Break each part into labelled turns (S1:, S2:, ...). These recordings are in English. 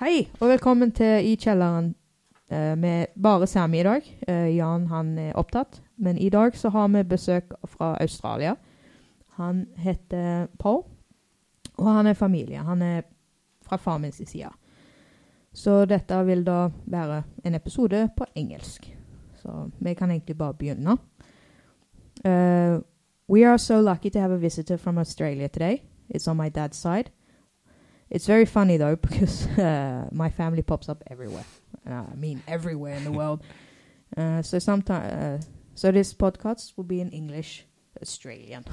S1: Hei, og velkommen til I kjelleren eh, med bare Sammy i dag. Eh, Jan han er opptatt, men i dag så har vi besøk fra Australia. Han heter Paul, og han er familie. Han er fra far min sin side. Så dette vil da være en episode på engelsk. Så vi kan egentlig bare begynne. Eh, we are so lucky to have a visitor from Australia today. It's on my dad's side. It's very funny though because uh, my family pops up everywhere. Uh, I mean, everywhere in the world. Uh, so sometimes, uh, so this podcast will be in English, Australian.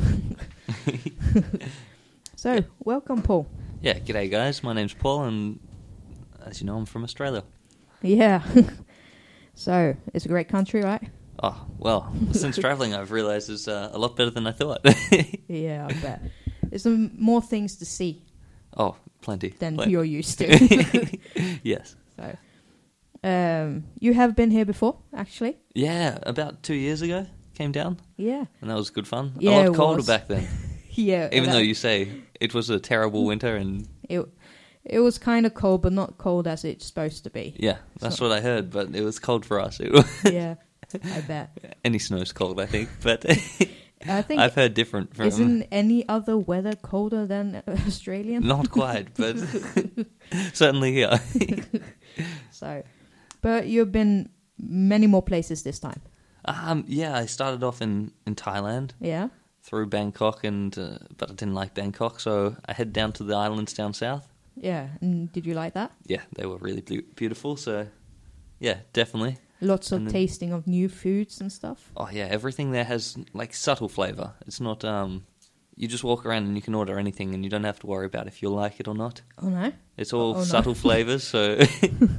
S1: so welcome, Paul.
S2: Yeah, g'day guys. My name's Paul, and as you know, I'm from Australia.
S1: Yeah. so it's a great country, right?
S2: Oh well, since travelling, I've realised it's uh, a lot better than I thought.
S1: Yeah, I bet. There's some more things to see
S2: oh, plenty.
S1: than
S2: plenty.
S1: you're used to.
S2: yes.
S1: so, um, you have been here before, actually.
S2: Yeah, about two years ago, came down,
S1: Yeah.
S2: and that was good fun.
S1: Yeah,
S2: a
S1: it
S2: lot colder
S1: was.
S2: back then,
S1: Yeah.
S2: even
S1: that-
S2: though you say it was a terrible winter, and
S1: It it was kind of cold, but not cold as it's supposed to be.
S2: yeah, that's
S1: So-
S2: what I heard. But it was cold for us. It was,
S1: yeah, I bet.
S2: any snow's cold, I think. But
S1: I think
S2: I've heard different from.
S1: isn't any other weather colder than Australian?
S2: Not quite, but certainly here.
S1: So, but you've been many more places this time.
S2: Um, yeah, I started off in, in Thailand.
S1: Yeah.
S2: through Bangkok, and uh, but I didn't like Bangkok, so I head down to the islands down south.
S1: Yeah, and did you like that?
S2: Yeah, they were really beau- beautiful. So, yeah, definitely.
S1: Lots of
S2: And then-
S1: tasting of new foods and stuff.
S2: Oh yeah, everything there has like subtle flavor. It's not um, you just walk around and you can order anything, and you don't have to worry about if you'll like it or not.
S1: Oh no,
S2: It's all
S1: Oh, no.
S2: subtle flavors, so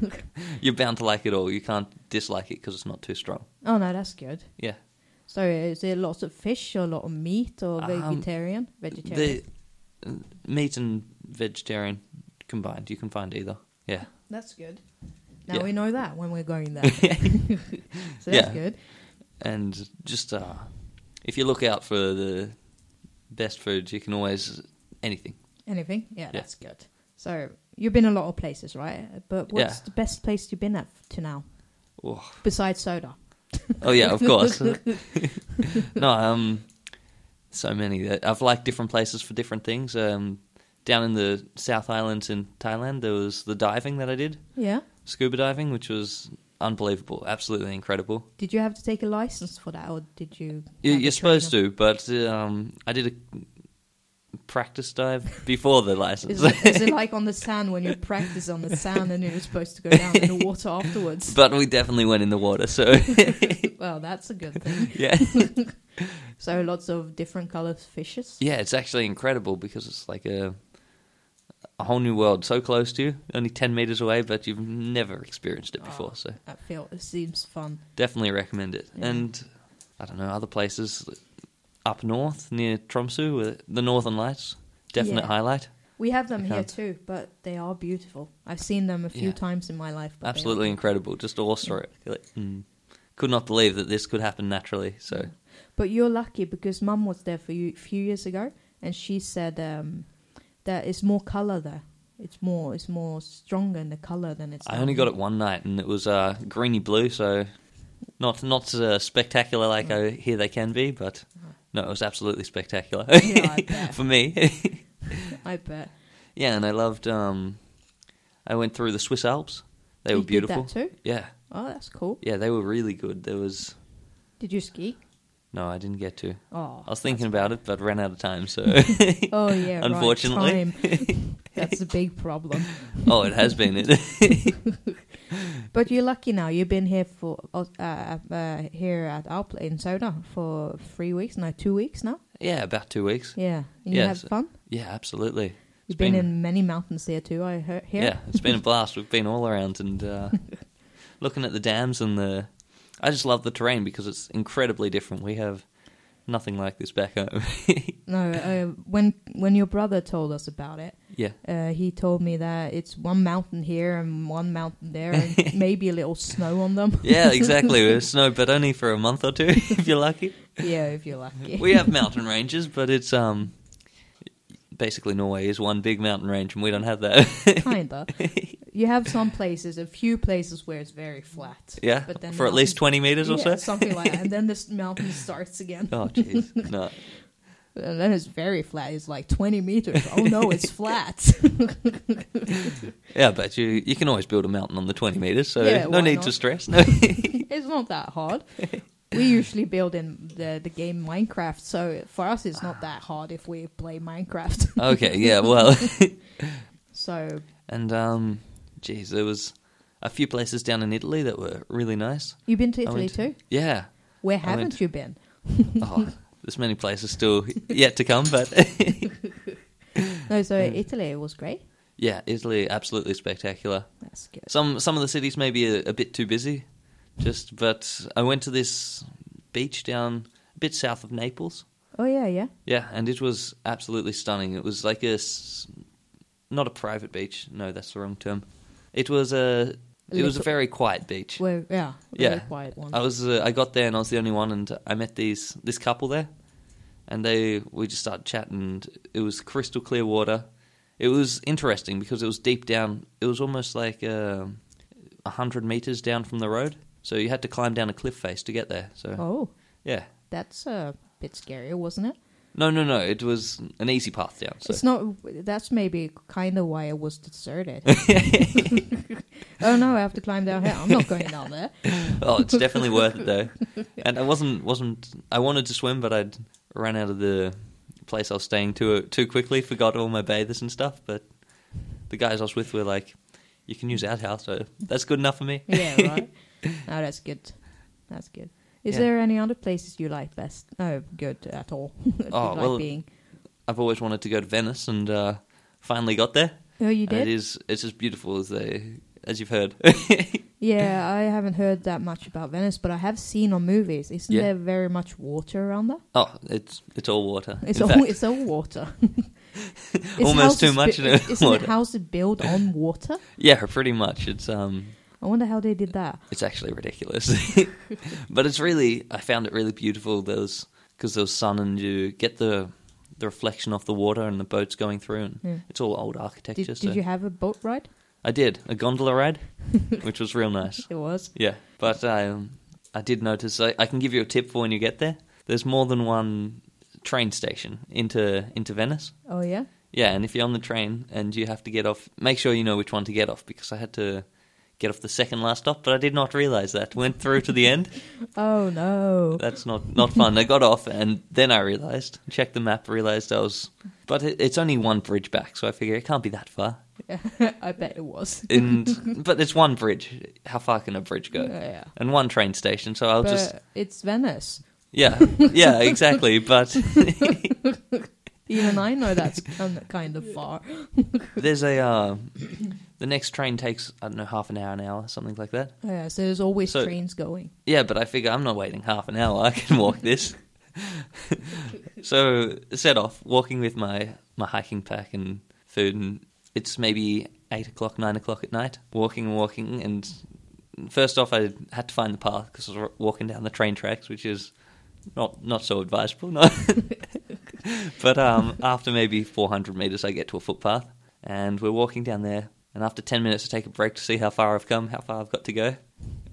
S2: you're bound to like it all. You can't dislike it because it's not too strong.
S1: oh no, that's good.
S2: Yeah.
S1: So, is there lots of fish or a lot of meat or
S2: Um,
S1: vegetarian? Vegetarian.
S2: The uh, meat and vegetarian combined, you can find either. Yeah.
S1: That's good. Now
S2: Yeah.
S1: we know that when we're going there. so that's
S2: Yeah.
S1: good.
S2: and just uh, if you look out for the best food, you can always anything.
S1: Anything? Yeah, that's good. So you've been a lot of places, right? But what's
S2: Yeah.
S1: the best place you've been at to now
S2: Oh,
S1: besides soda?
S2: oh yeah, of course. no, um, so many. that- I've liked different places for different things. Um, down in the South Islands in Thailand, there was the diving that I did,
S1: Yeah.
S2: scuba diving, which was unbelievable, absolutely incredible.
S1: Did you have to take a license for that, or did you?
S2: You, you're supposed to, but um, I did a practice dive before the license.
S1: Is it, is it like on the sand when you practice on the sand and you're supposed to go down in the water afterwards?
S2: but we definitely went in the water, so
S1: well, that's a good thing.
S2: yeah.
S1: So lots of different colored fishes.
S2: Yeah, it's actually incredible because it's like a a whole new world, so close to you, only ten meters away, but you've never experienced it before.
S1: Oh.
S2: So
S1: I feel it seems fun.
S2: definitely recommend it.
S1: Yeah.
S2: And I don't know other places up north near Tromsø, with the Northern Lights, definite
S1: Yeah.
S2: highlight.
S1: We have them
S2: I
S1: here
S2: can't-
S1: too, but they are beautiful. I've seen them a few
S2: Yeah.
S1: times in my life. But they are-
S2: Absolutely incredible, just awestruck. Like, mm, could not believe that this could happen naturally.
S1: Mm.
S2: So
S1: But you're lucky because mum was there for you a few years ago, and she said um, that it's more color there. It's more, it's more stronger in the color than it's.
S2: I
S1: down
S2: only
S1: here.
S2: got it one night, and it was uh, greeny blue, so not not uh, spectacular like I hear they can be, but no, it was absolutely spectacular
S1: Yeah, I bet.
S2: for me.
S1: I bet.
S2: yeah, and I loved. Um, I went through the Swiss Alps; they
S1: You
S2: were beautiful.
S1: Did that too.
S2: Yeah,
S1: Oh, that's cool.
S2: yeah, they were really good. There was
S1: Did you ski?
S2: no, I didn't get to.
S1: Oh,
S2: I was thinking about it, but ran out of time. So,
S1: oh yeah. right,
S2: unfortunately,
S1: time. that's a big problem.
S2: oh, it has been it.
S1: But you're lucky now. You've been here for uh, uh, here at our pla- in Soda for three weeks, no, two weeks now.
S2: yeah, about two weeks.
S1: Yeah, and you
S2: Yeah,
S1: had
S2: so-
S1: fun.
S2: Yeah, absolutely.
S1: You've been, in many mountains here too. I heard. Here.
S2: Yeah, it's been a blast. We've been all around and uh, looking at the dams and the. I just love the terrain because it's incredibly different. We have nothing like this back home.
S1: No, uh, when when your brother told us about it,
S2: yeah,
S1: uh, he told me that it's one mountain here and one mountain there, and maybe a little snow on them.
S2: yeah, exactly. It's snow, but only for a month or two if you're lucky.
S1: yeah, if you're lucky.
S2: We have mountain ranges, but it's um basically Norway is one big mountain range, and we don't have that.
S1: kinda. you have some places, a few places where it's very flat.
S2: Yeah,
S1: But then
S2: for at least
S1: mountains-
S2: twenty meters or
S1: Yeah,
S2: so.
S1: something like that. And then this mountain starts again.
S2: Oh jeez, no.
S1: And then it's very flat. It's like 20 meters. Oh no, it's flat.
S2: Yeah, but you you can always build a mountain on the twenty meters, so
S1: Yeah,
S2: no
S1: why
S2: need
S1: not?
S2: to stress. No.
S1: it's not that hard. We usually build in the, the game Minecraft, so for us it's not that hard if we play Minecraft.
S2: okay, yeah, well,
S1: so,
S2: and um, jeez, there was a few places down in Italy that were really nice.
S1: you've been to
S2: I
S1: Italy
S2: went-
S1: too?
S2: Yeah.
S1: Where
S2: I went-
S1: haven't you been?
S2: Oh, there's many places still yet to come, but
S1: No, so Italy was great.
S2: yeah, Italy absolutely spectacular.
S1: That's good.
S2: Some some of the cities may be a, a bit too busy, just but I went to this beach down a bit south of Naples.
S1: Oh yeah, yeah.
S2: Yeah, and it was absolutely stunning. It was like a s- not a private beach. No, that's the wrong term. It was a it was a
S1: Little-
S2: very quiet beach.
S1: Well, yeah,
S2: Yeah.
S1: really quiet one.
S2: I was uh, I got there and I was the only one, and I met these this couple there, and they we just started chatting. And it was crystal clear water. It was interesting because it was deep down. It was almost like um, a hundred meters down from the road, so you had to climb down a cliff face to get there. So
S1: Oh,
S2: yeah,
S1: that's a bit scary, wasn't it?
S2: no, no, no. It was an easy path down. So.
S1: It's not. That's maybe kind of why it was deserted. oh no, I have to climb down here. I'm not going down there.
S2: oh, it's definitely worth it though. And I wasn't wasn't I wanted to swim, but I'd ran out of the place I was staying too too quickly. Forgot all my bathers and stuff. But the guys I was with were like, "You can use outhouse, so that's good enough for me."
S1: Yeah, right. no, that's good. That's good. Is
S2: Yeah.
S1: there any other places you like best? No, good at all. That you
S2: Oh,
S1: like
S2: well-
S1: being.
S2: I've always wanted to go to Venice, and uh, finally got there.
S1: Oh, you
S2: And it
S1: did?
S2: is it's as beautiful as they as you've heard.
S1: Yeah, I haven't heard that much about Venice, but I have seen on movies. Isn't
S2: Yeah.
S1: there very much water around there?
S2: oh, it's it's all water.
S1: It's
S2: In
S1: all
S2: fact,
S1: it's all water. It's
S2: Almost too
S1: houses
S2: much
S1: bu-
S2: in
S1: is- isn't
S2: water.
S1: it houses built on water?
S2: yeah, pretty much. It's um.
S1: I wonder how they did that.
S2: It's actually ridiculous, but it's really. I found it really beautiful. Those because there was sun and you get the the reflection off the water and the boats going through, and
S1: Yeah.
S2: it's all old architecture.
S1: Did, did
S2: so
S1: you have a boat ride?
S2: I did a gondola ride, which was real nice.
S1: It was.
S2: Yeah, but I um, I did notice. I, I can give you a tip for when you get there. There's more than one train station into into Venice.
S1: Oh yeah.
S2: Yeah, and if you're on the train and you have to get off, make sure you know which one to get off because I had to get off the second last stop, but I did not realize that. Went through to the end.
S1: Oh no.
S2: That's not not fun. I got off and then I realized, checked the map, realized I was but it, it's only one bridge back, so I figure it can't be that far.
S1: I bet it was.
S2: And but it's one bridge. How far can a bridge go?
S1: Yeah.
S2: And one train station, so I'll
S1: but
S2: just
S1: it's Venice.
S2: yeah, yeah, exactly. But
S1: Even I know that's kind kind of far.
S2: there's a uh, the next train takes I don't know half an hour, an hour, something like that.
S1: Oh, Yeah, so there's always
S2: So-
S1: trains going.
S2: Yeah, but I figure I'm not waiting half an hour. I can walk this. so set off, walking with my my hiking pack and food, and it's maybe eight o'clock, nine o'clock at night. Walking and walking, and first off, I had to find the path because I was wa- walking down the train tracks, which is not not so advisable. No, but um, after maybe 400 meters, I get to a footpath, and we're walking down there. And after 10 minutes, I take a break to see how far I've come, how far I've got to go,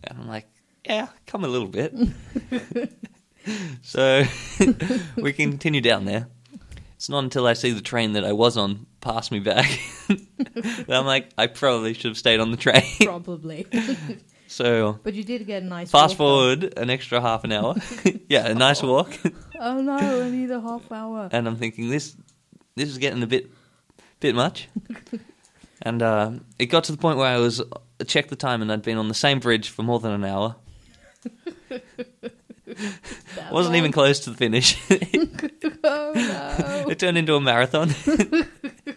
S2: and I'm like, yeah, come a little bit. so we continue down there. It's not until I see the train that I was on pass me back that I'm like, I probably should have stayed on the train.
S1: Probably.
S2: So
S1: but you did get a nice
S2: fast
S1: walk,
S2: forward an extra half an hour. yeah, a nice walk.
S1: though. Oh no, I need a half hour.
S2: And I'm thinking this this is getting a bit bit much. And uh, it got to the point where I was I checked the time and I'd been on the same bridge for more than an hour.
S1: That
S2: Wasn't even
S1: long.
S2: close to the finish.
S1: Oh no.
S2: it turned into a marathon.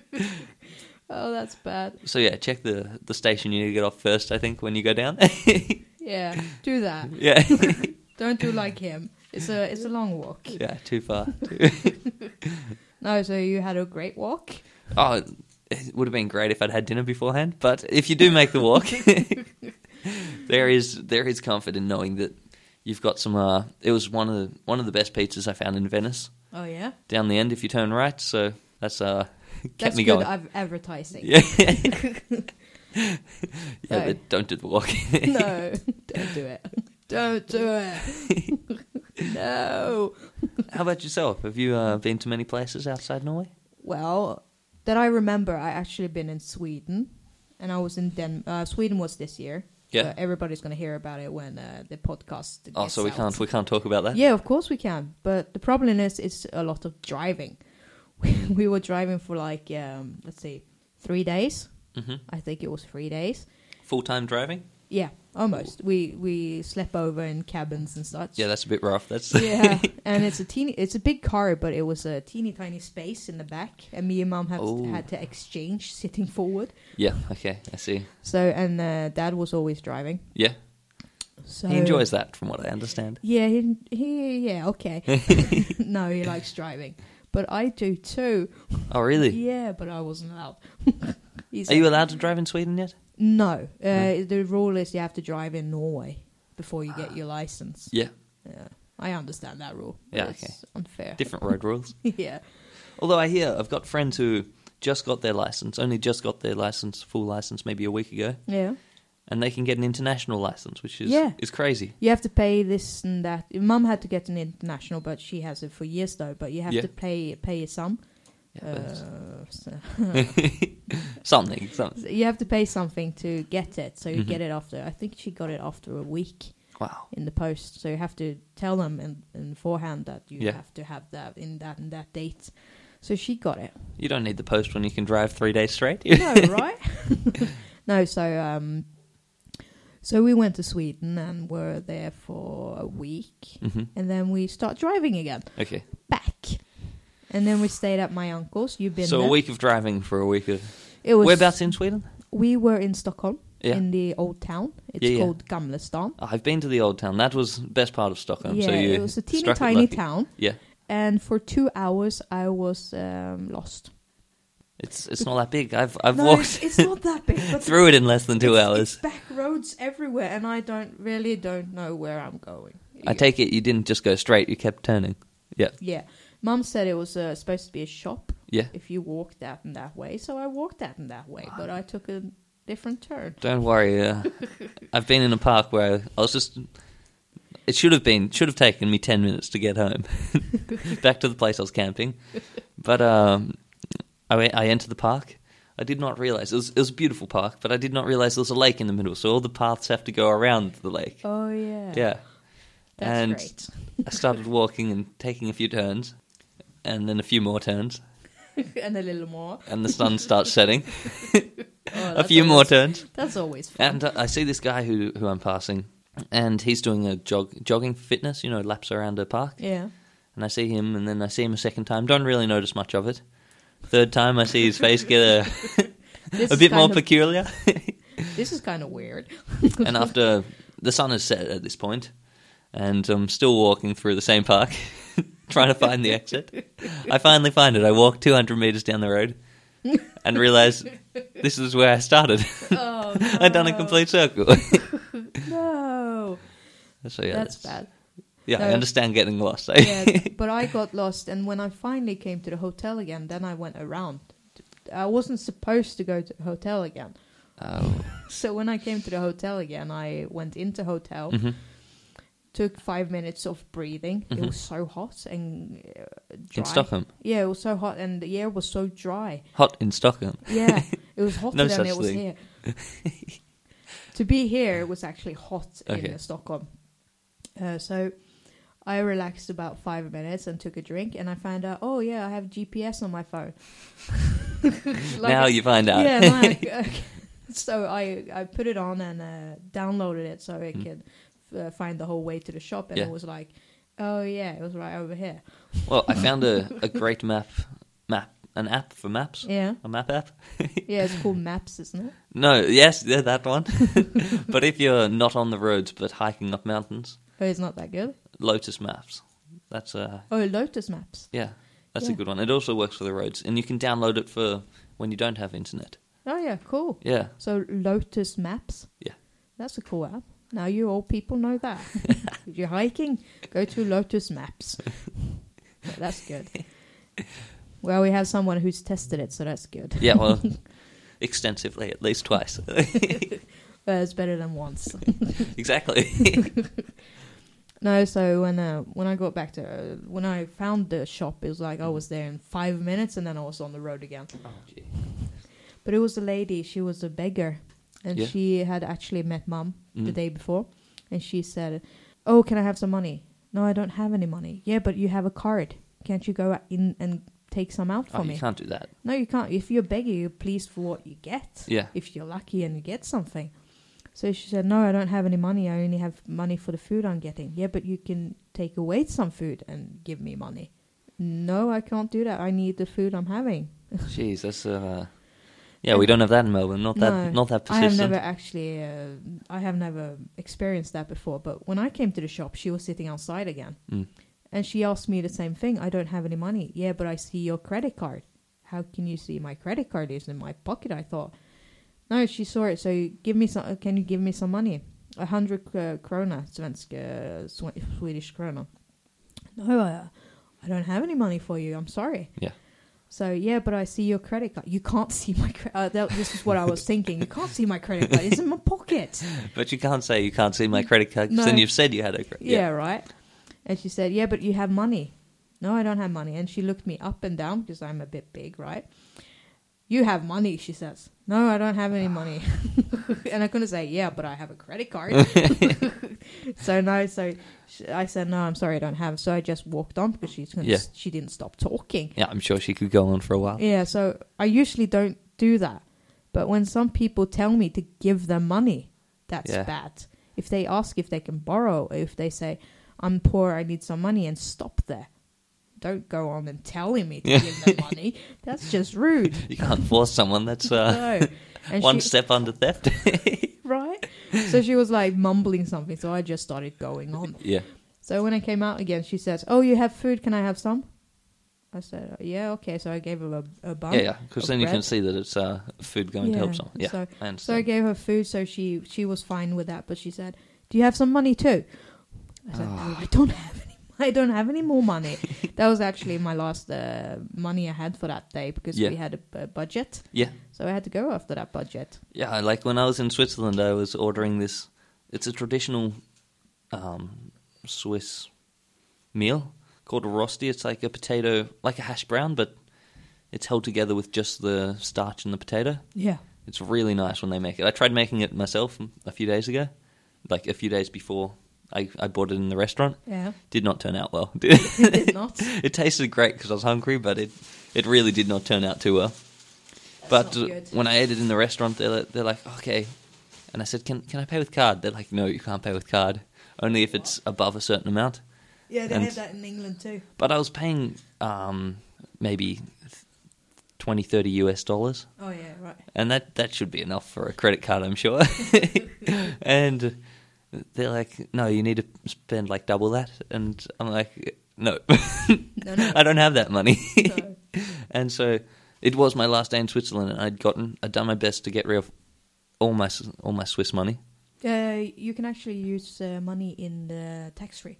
S1: oh, that's bad.
S2: So yeah, check the the station you need to get off first. I think when you go down.
S1: Yeah, do that.
S2: yeah,
S1: Don't do like him. It's a it's a long walk.
S2: yeah, too far.
S1: No, so you had a great walk.
S2: Oh, it would have been great if I'd had dinner beforehand. But if you do make the walk, there is there is comfort in knowing that you've got some. Uh, it was one of the, one of the best pizzas I found in Venice.
S1: Oh yeah,
S2: Down the end, if you turn right, so that's uh kept
S1: that's
S2: me
S1: good
S2: going.
S1: I've advertising.
S2: Yeah. Yeah,
S1: No.
S2: but don't do the walking.
S1: no, don't do it. Don't do it. no.
S2: How about yourself? Have you uh, been to many places outside Norway?
S1: Well, that I remember, I actually been in Sweden, and I was in Den. Uh, Sweden was this year.
S2: Yeah.
S1: So everybody's gonna hear about it when uh, the podcast.
S2: Oh,
S1: gets
S2: so we
S1: out.
S2: can't we can't talk about that.
S1: Yeah, of course we can. But the problem is, it's a lot of driving. We, we were driving for like, um, let's see, three days.
S2: hmm
S1: I think it was three days.
S2: Full time driving.
S1: Yeah, almost. We we slept over in cabins and such.
S2: Yeah, that's a bit rough. That's
S1: yeah, and it's a teeny, it's a big car, but it was a teeny tiny space in the back, and me and mom had
S2: Oh.
S1: had to exchange sitting forward.
S2: yeah. Okay, I see.
S1: So and uh, dad was always driving.
S2: Yeah,
S1: So
S2: he enjoys that, from what I understand.
S1: Yeah, he, he yeah okay. no, he likes driving, but I do too.
S2: Oh, really?
S1: Yeah, but I wasn't allowed. He's
S2: Are you allowed to drive in Sweden yet?
S1: No. Uh,
S2: No.
S1: The rule is you have to drive in Norway before you get your license.
S2: Yeah.
S1: Yeah. I understand that rule. but
S2: Yeah,
S1: It's unfair.
S2: Different road rules.
S1: yeah.
S2: Although I hear I've got friends who just got their license, only just got their license, full license, maybe a week ago,
S1: Yeah.
S2: and they can get an international license, which is
S1: Yeah.
S2: is crazy.
S1: You have to pay this and that. Mum had to get an international, but she has it for years though. But you have
S2: Yeah.
S1: to pay pay a sum.
S2: Yeah, but-
S1: Uh, so-
S2: something, something.
S1: you have to pay something to get it, so you
S2: Mhm.
S1: get it after. I think she got it after a week.
S2: Wow.
S1: in the post. So you have to tell them in, in forehand that you
S2: Yeah.
S1: have to have that in that in that date. So she got it.
S2: You don't need the post when you can drive three days straight.
S1: No, right? no, so um so we went to Sweden and were there for a week
S2: hmm
S1: and then we start driving again.
S2: Okay.
S1: Back. And then we stayed at my uncle's. You've been
S2: so
S1: there.
S2: a week of driving for a week of.
S1: it was
S2: Whereabouts in Sweden?
S1: we were in Stockholm
S2: Yeah.
S1: in the old town. It's
S2: Yeah, yeah.
S1: called Gamlestan.
S2: I've been to the old town. That was best part of Stockholm.
S1: yeah,
S2: Um, so you
S1: it was a teeny
S2: struck it
S1: tiny
S2: lucky.
S1: town.
S2: Yeah,
S1: and for two hours I was um, lost.
S2: it's it's not that big. I've I've
S1: no,
S2: walked
S1: it's, it's not that big. But
S2: through it in less than two
S1: it's,
S2: hours.
S1: It's back roads everywhere, and I don't really don't know where I'm going.
S2: I take it you didn't just go straight. You kept turning. Yeah,
S1: Yeah, Mum said it was uh, supposed to be a shop
S2: yeah.
S1: if you walk that and that way, so I walked that and that way, but I took a different turn.
S2: Don't worry. Uh, I've been in a park where I was just. It should have been should have taken me ten minutes to get home, back to the place I was camping. But um, I went- I entered the park. I did not realize it was it was a beautiful park, but I did not realize there was a lake in the middle, so all the paths have to go around the lake.
S1: Oh yeah,
S2: Yeah.
S1: that's
S2: and
S1: great.
S2: I started walking and taking a few turns, and then a few more turns,
S1: and a little more.
S2: and the sun starts setting.
S1: Oh,
S2: a
S1: that's
S2: few more
S1: always-
S2: turns.
S1: That's always fun.
S2: And uh, I see this guy who who I'm passing, and he's doing a jog jogging fitness, you know, laps around a park.
S1: yeah,
S2: And I see him, and then I see him a second time. Don't really notice much of it. Third time, I see his face get a
S1: this
S2: a
S1: is
S2: bit more
S1: kind of-
S2: peculiar.
S1: This is kind of weird.
S2: and after the sun has set at this point, and I'm still walking through the same park, trying to find the exit. I finally find it. I walk 200 meters down the road, and realize this is where I started.
S1: oh,
S2: I've done a
S1: no.
S2: complete circle.
S1: No,
S2: so yeah,
S1: that's
S2: that's-
S1: bad.
S2: Yeah, I
S1: So-
S2: understand getting lost. eh?
S1: yeah, but I got lost, and when I finally came to the hotel again, then I went around. I wasn't supposed to go to the hotel again,
S2: Oh.
S1: so when I came to the hotel again, I went into hotel,
S2: Mhm.
S1: took five minutes of breathing. It
S2: Mhm.
S1: was so hot and uh, dry.
S2: In Stockholm.
S1: Yeah, it was so hot, and the air was so dry.
S2: Hot in Stockholm.
S1: Yeah, it was hotter
S2: No
S1: than
S2: such
S1: it was
S2: thing.
S1: here. to be here, it was actually hot
S2: Okay.
S1: in Stockholm. Uh, so I relaxed about five minutes and took a drink, and I found out, oh yeah, I have GPS on my phone. Like-
S2: now you find out.
S1: yeah. like, okay. so I I put it on and uh, downloaded it so it
S2: Mm.
S1: could uh, find the whole way to the shop, and
S2: Yeah.
S1: it was like, oh yeah, it was right over here.
S2: well, I found a, a great map, map, an app for maps,
S1: Yeah,
S2: a map app.
S1: yeah, it's called Maps, isn't it?
S2: No, yes, yeah, that one. but if you're not on the roads but hiking up mountains,
S1: Oh, it's not that good.
S2: Lotus Maps. That's uh,
S1: Oh, Lotus Maps.
S2: yeah, that's a
S1: Yeah.
S2: good one. It also works for the roads, and you can download it for when you don't have internet.
S1: Oh yeah, cool.
S2: Yeah,
S1: So Lotus Maps.
S2: Yeah.
S1: That's a cool app. Now you old people know that. if you're hiking, go to Lotus Maps. Well, that's good. Well, we have someone who's tested it, so that's good.
S2: yeah. Well, extensively, at least twice.
S1: But it's better than once.
S2: exactly.
S1: no, so when uh, when I got back to uh, when I found the shop, it was like I was there in five minutes, and then I was on the road again.
S2: oh, gee.
S1: But it was a lady. She was a beggar, and
S2: Yeah.
S1: she had actually met mum the
S2: Mm.
S1: day before, and she said, "Oh, can I have some money? No, I don't have any money. Yeah, but you have a card. Can't you go in and take some out for
S2: Oh,
S1: me?
S2: you can't do that.
S1: No, you can't. If you're a beggar, you're pleased for what you get.
S2: Yeah.
S1: If you're lucky and you get something." So she said, "No, I don't have any money. I only have money for the food I'm getting. Yeah, but you can take away some food and give me money. No, I can't do that. I need the food I'm having."
S2: Jeez, that's uh, yeah. We don't have that in Melbourne. Not that.
S1: No,
S2: not that
S1: I have
S2: persistent.
S1: never actually, uh, I have never experienced that before. But when I came to the shop, she was sitting outside again,
S2: Mm.
S1: and she asked me the same thing. I don't have any money. Yeah, but I see your credit card. How can you see my credit card is in my pocket? I thought. No, she saw it. So you give me some. Can you give me some money? A hundred uh, krona, svensk, uh, Swe- Swedish krona. No, I, I don't have any money for you. I'm sorry.
S2: Yeah.
S1: So yeah, but I see your credit card. You can't see my credit. Uh, that, this is what I was thinking. You can't see my credit card. It's in my pocket.
S2: But you can't say you can't see my credit card. 'cause
S1: No.
S2: Then you've said you had a credit.
S1: Yeah. right. And she said, yeah, but you have money. No, I don't have money. And she looked me up and down because I'm a bit big, right? You have money, she says. No, I don't have any money. and I couldn't say, yeah, but I have a credit card. so no, so sh I said, no, I'm sorry, I don't have. So I just walked on because she's gonna,
S2: Yeah.
S1: she didn't stop talking.
S2: Yeah, I'm sure she could go on for a while.
S1: Yeah, so I usually don't do that. But when some people tell me to give them money, that's
S2: Yeah.
S1: bad. If they ask if they can borrow, if they say, I'm poor, I need some money, and stop there. Don't go on and telling me to
S2: Yeah.
S1: give them money. That's just rude.
S2: You can't force someone. That's uh,
S1: No. And
S2: one
S1: she,
S2: step under theft.
S1: right? So she was like mumbling something, so I just started going on.
S2: yeah.
S1: So when I came out again, she says, Oh, you have food, can I have some? I said, Yeah, okay. So I gave her a, a bun.
S2: Yeah, yeah. Because
S1: of
S2: then you can
S1: bread.
S2: see that it's uh, food going to help
S1: Yeah,
S2: someone. Yeah,
S1: so-
S2: I
S1: So I
S2: understand.
S1: gave her food, so she she was fine with that. But she said, "Do you have some money too?" I said,
S2: Ah.
S1: "No, I don't have any. I don't have any more money." that was actually my last uh, money I had for that day because
S2: Yeah.
S1: we had a, a budget,
S2: yeah,
S1: so I had to go after that budget.
S2: yeah. Like when I was in Switzerland, I was ordering this. It's a traditional um, Swiss meal called a rosti. It's like a potato, like a hash brown, but it's held together with just the starch and the potato.
S1: Yeah,
S2: It's really nice when they make it. I tried making it myself a few days ago, like a few days before I, I bought it in the restaurant.
S1: yeah,
S2: Did not turn out well. Did
S1: it did not.
S2: it tasted great because I was hungry, but it it really did not turn out too well. but
S1: not
S2: uh,
S1: good.
S2: when I ate it in the restaurant, they're like, they're like, okay, and I said, can can I pay with card? They're like, no, you can't pay with card, only if it's above a certain amount.
S1: Yeah,
S2: they And- have
S1: that in England too.
S2: But I was paying um, maybe 20, 30 US dollars
S1: Oh yeah, right.
S2: and that that should be enough for a credit card, I'm sure. and they're like, "No, you need to spend like double that." And I'm like, "No,
S1: No, no.
S2: I don't have that money."
S1: So,
S2: and so it was my last day in Switzerland, and I'd gotten, I'd done my best to get rid of all my S- all my Swiss money.
S1: uh, you can actually use uh, money in the tax free.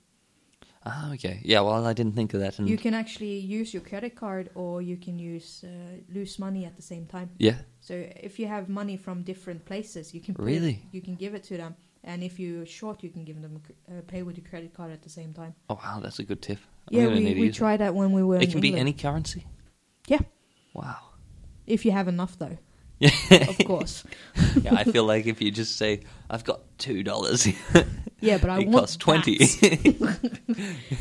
S2: Ah, okay, yeah. Well, I didn't think of that, and
S1: You can actually use your credit card, or you can use uh, loose money at the same time.
S2: yeah,
S1: So if you have money from different places, you can put
S2: Really?
S1: it, you can give it to them, and if you're short, you can give them a cr- uh, pay with your credit card at the same time.
S2: oh wow, that's a good tip. I'm
S1: yeah,
S2: gonna
S1: we,
S2: need to
S1: we
S2: use
S1: tried that when we were.
S2: It,
S1: in
S2: it can be
S1: England.
S2: any currency.
S1: Yeah,
S2: Wow.
S1: if you have enough though,
S2: Yeah.
S1: of course.
S2: yeah, I feel like if you just say, "I've got two dollars,"
S1: Yeah, but I
S2: it
S1: want
S2: costs twenty.
S1: that.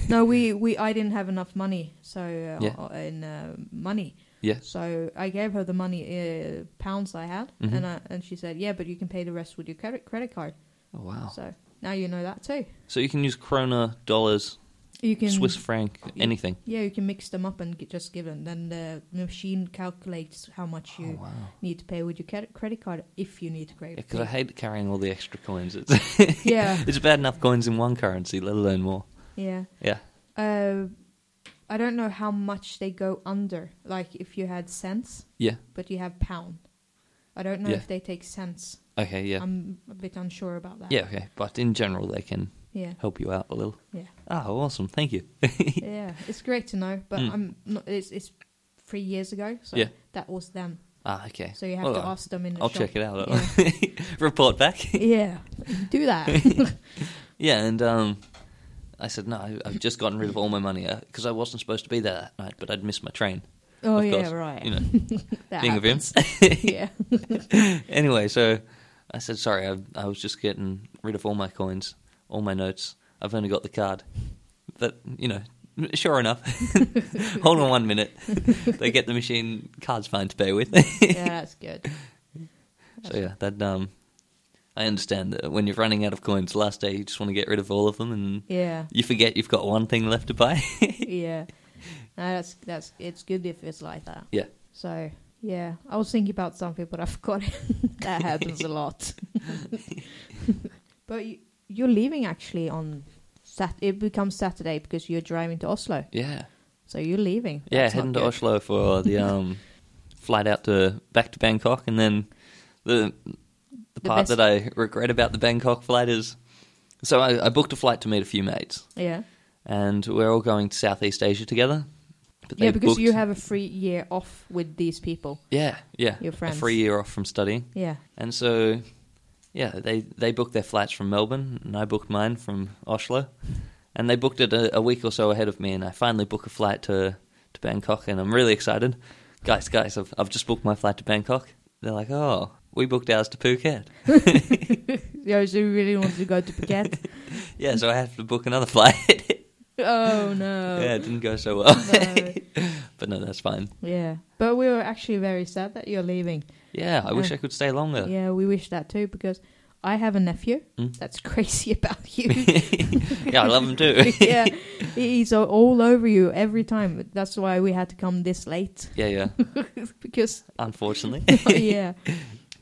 S1: no, we, we I didn't have enough money, so uh,
S2: Yeah.
S1: uh, in uh, money.
S2: Yeah.
S1: So I gave her the money uh, pounds I had,
S2: Mhm.
S1: and I, and she said, "Yeah, but you can pay the rest with your credit credit card."
S2: Oh, wow.
S1: So now you know that too.
S2: So you can use krona, dollars,
S1: You can
S2: Swiss franc, anything.
S1: Yeah, you can mix them up and get, just give them. Then the machine calculates how much you
S2: Oh, wow.
S1: need to pay with your cre- credit card if you need to credit.
S2: Because I hate carrying all the extra coins. It's
S1: yeah,
S2: it's bad enough coins in one currency, let alone more.
S1: yeah.
S2: Yeah.
S1: Uh, I don't know how much they go under. Like if you had cents,
S2: Yeah.
S1: but you have pound. I don't know
S2: Yeah.
S1: if they take cents.
S2: Okay. Yeah.
S1: I'm a bit unsure about that.
S2: yeah. Okay. But in general, they can
S1: yeah,
S2: help you out a little.
S1: yeah,
S2: Oh, awesome! Thank you.
S1: yeah. It's great to know, but
S2: Mm.
S1: I'm not. It's it's three years ago, so
S2: Yeah.
S1: that was then.
S2: Ah, okay.
S1: So you have
S2: Well,
S1: to ask them in the
S2: I'll
S1: shop.
S2: check it out. Report back.
S1: Yeah, do that.
S2: Yeah, and um, I said, no, I- I've just gotten rid of all my money because I wasn't supposed to be there that night, but I'd missed my train.
S1: oh
S2: Of
S1: yeah,
S2: course,
S1: right.
S2: You know,
S1: That
S2: being
S1: happens.
S2: events.
S1: Yeah.
S2: anyway, so I said, sorry, I, I was just getting rid of all my coins, all my notes. I've only got the card. That, you know, sure enough, hold on one minute. they get the machine, card's fine to pay with.
S1: yeah, that's good.
S2: So yeah, that, um, I understand that when you're running out of coins, last day you just want to get rid of all of them and
S1: Yeah,
S2: you forget you've got one thing left to buy.
S1: yeah. No, that's that's it's good if it's like that.
S2: yeah.
S1: So yeah, I was thinking about something, but I forgot. it. that happens a lot. but you, you're leaving actually on Sat. It becomes Saturday because you're driving to Oslo.
S2: Yeah.
S1: So you're leaving.
S2: Yeah,
S1: That's not
S2: heading to
S1: good.
S2: Oslo for the um, flight out to back to Bangkok, and then the the, part
S1: best-
S2: that I regret about the Bangkok flight is, so I, I booked a flight to meet a few mates,
S1: Yeah.
S2: and we're all going to Southeast Asia together. But
S1: Yeah,
S2: they
S1: because you
S2: booked-
S1: have a free year off with these people.
S2: yeah yeah
S1: your friends.
S2: a free year off from studying,
S1: Yeah.
S2: and so yeah they they booked their flights from Melbourne, and I booked mine from Oslo, and they booked it a, a week or so ahead of me, and I finally book a flight to to Bangkok, and I'm really excited. Guys, guys, I've I've just booked my flight to Bangkok. They're like, oh, we booked ours to Phuket.
S1: Yeah, so you really want to go to Phuket?
S2: Yeah, so I have to book another flight.
S1: oh no.
S2: yeah, it didn't go so well,
S1: No.
S2: but no, that's fine.
S1: Yeah. But we were actually very sad that you're leaving.
S2: Yeah, I wish
S1: Yeah.
S2: I could stay longer.
S1: Yeah, we wish that too because I have a nephew
S2: Mm.
S1: that's crazy about you.
S2: yeah, I love them too.
S1: yeah, he's a- all over you every time. That's why we had to come this late
S2: yeah, yeah.
S1: because
S2: Unfortunately,
S1: yeah,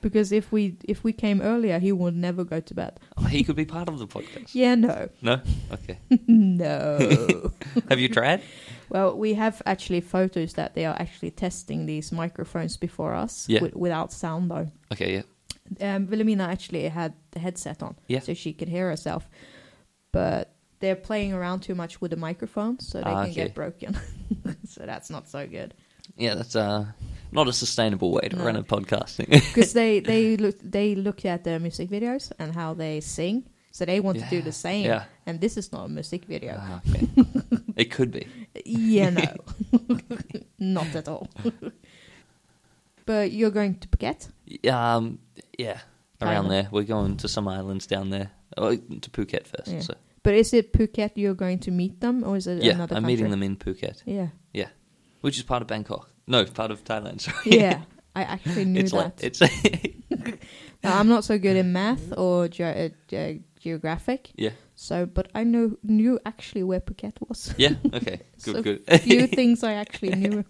S1: because if we if we came earlier, he would never go to bed.
S2: Oh, he could be part of the podcast.
S1: Yeah, no,
S2: No, okay.
S1: no.
S2: Have you tried?
S1: well, we have actually photos that they are actually testing these microphones before us
S2: Yeah.
S1: wi- without sound though.
S2: Okay, yeah.
S1: um, Wilhelmina actually had the headset on,
S2: Yeah.
S1: so she could hear herself. But they're playing around too much with the microphone, so they
S2: Ah,
S1: can
S2: okay.
S1: get broken. so that's not so good
S2: Yeah, that's uh, not a sustainable way to
S1: No.
S2: run a podcasting.
S1: because they they look they look at the music videos and how they sing, so they want to do
S2: Yeah,
S1: the same.
S2: yeah.
S1: And this is not a music video.
S2: Ah, okay. it could be.
S1: yeah, no, not at all. but you're going to Phuket.
S2: Um, yeah, around
S1: Thailand.
S2: there. We're going to some islands down there. Oh, to Phuket first.
S1: Yeah.
S2: So
S1: But is it Phuket you're going to meet them, or is it
S2: yeah, I'm
S1: another? country?
S2: meeting them in Phuket.
S1: Yeah,
S2: Yeah, which is part of Bangkok. No, part of Thailand. Sorry.
S1: yeah. I actually knew
S2: it's
S1: that.
S2: like it's yeah,
S1: Now, I'm not so good in math or ge- uh, ge- geographic, so but I know knew actually where Phuket was.
S2: yeah. Okay, good,
S1: So
S2: good.
S1: Few things I actually knew.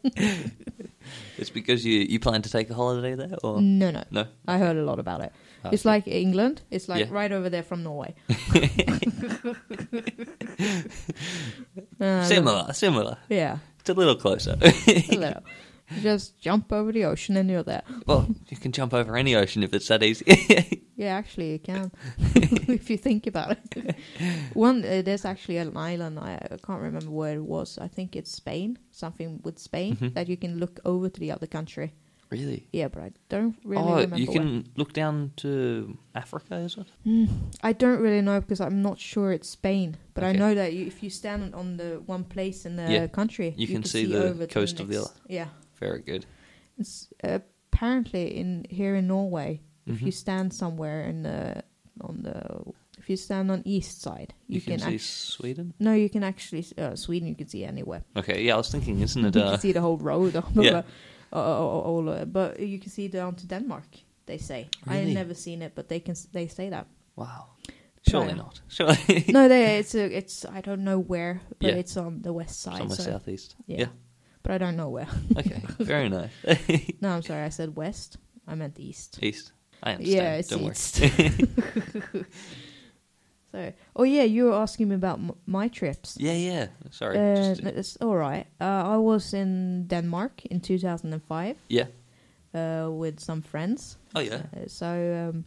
S2: it's because you you plan to take a holiday there, or
S1: no, no,
S2: no?
S1: I heard a lot about it.
S2: Ah,
S1: it's
S2: okay.
S1: like England. It's like
S2: Yeah.
S1: right over there from Norway. Um,
S2: similar, similar.
S1: Yeah,
S2: It's a little closer.
S1: a little. You Just jump over the ocean and you're there.
S2: well, you can jump over any ocean if it's that easy.
S1: Yeah, actually, you can if you think about it. One, uh, there's actually an island. I, I can't remember where it was. I think it's Spain, something with Spain
S2: Mhm.
S1: that you can look over to the other country.
S2: really?
S1: Yeah, but I don't really
S2: oh,
S1: remember.
S2: you
S1: where.
S2: can look down to Africa, is it?
S1: Hmm, I don't really know because I'm not sure it's Spain, but I
S2: Okay.
S1: know that you, if you stand on the one place in the
S2: Yeah,
S1: country,
S2: you can see the
S1: over to
S2: coast of the
S1: next-
S2: other.
S1: Yeah,
S2: Very good.
S1: it's, apparently in here in Norway, if
S2: Mhm.
S1: you stand somewhere in the on the if you stand on east side, you,
S2: You can, see
S1: act-
S2: Sweden.
S1: no, you can actually s- uh, Sweden. You can see anywhere.
S2: Okay, yeah, I was thinking, isn't it?
S1: you
S2: Uh,
S1: can see the whole road, all
S2: Yeah.
S1: yeah. all, uh, but you can see down to Denmark. They say I've
S2: Really?
S1: never seen it, but they can s- they say that.
S2: wow, surely
S1: Right.
S2: not. Surely
S1: no, they, it's a, it's I don't know where, but
S2: Yeah.
S1: it's on the west side.
S2: somewhere
S1: so,
S2: southeast.
S1: Yeah.
S2: Yeah.
S1: But I don't know where.
S2: Okay, very nice.
S1: No, I'm sorry, I said west. I meant east.
S2: east. I understand.
S1: Yeah, it's
S2: Don't
S1: east.
S2: worry.
S1: So, oh yeah, you were asking me about m- my trips.
S2: yeah, yeah. Sorry.
S1: Uh,
S2: just-
S1: no, it's all right. Uh, I was in Denmark in 2005
S2: yeah.
S1: uh, with some friends.
S2: Oh yeah.
S1: Uh, so um,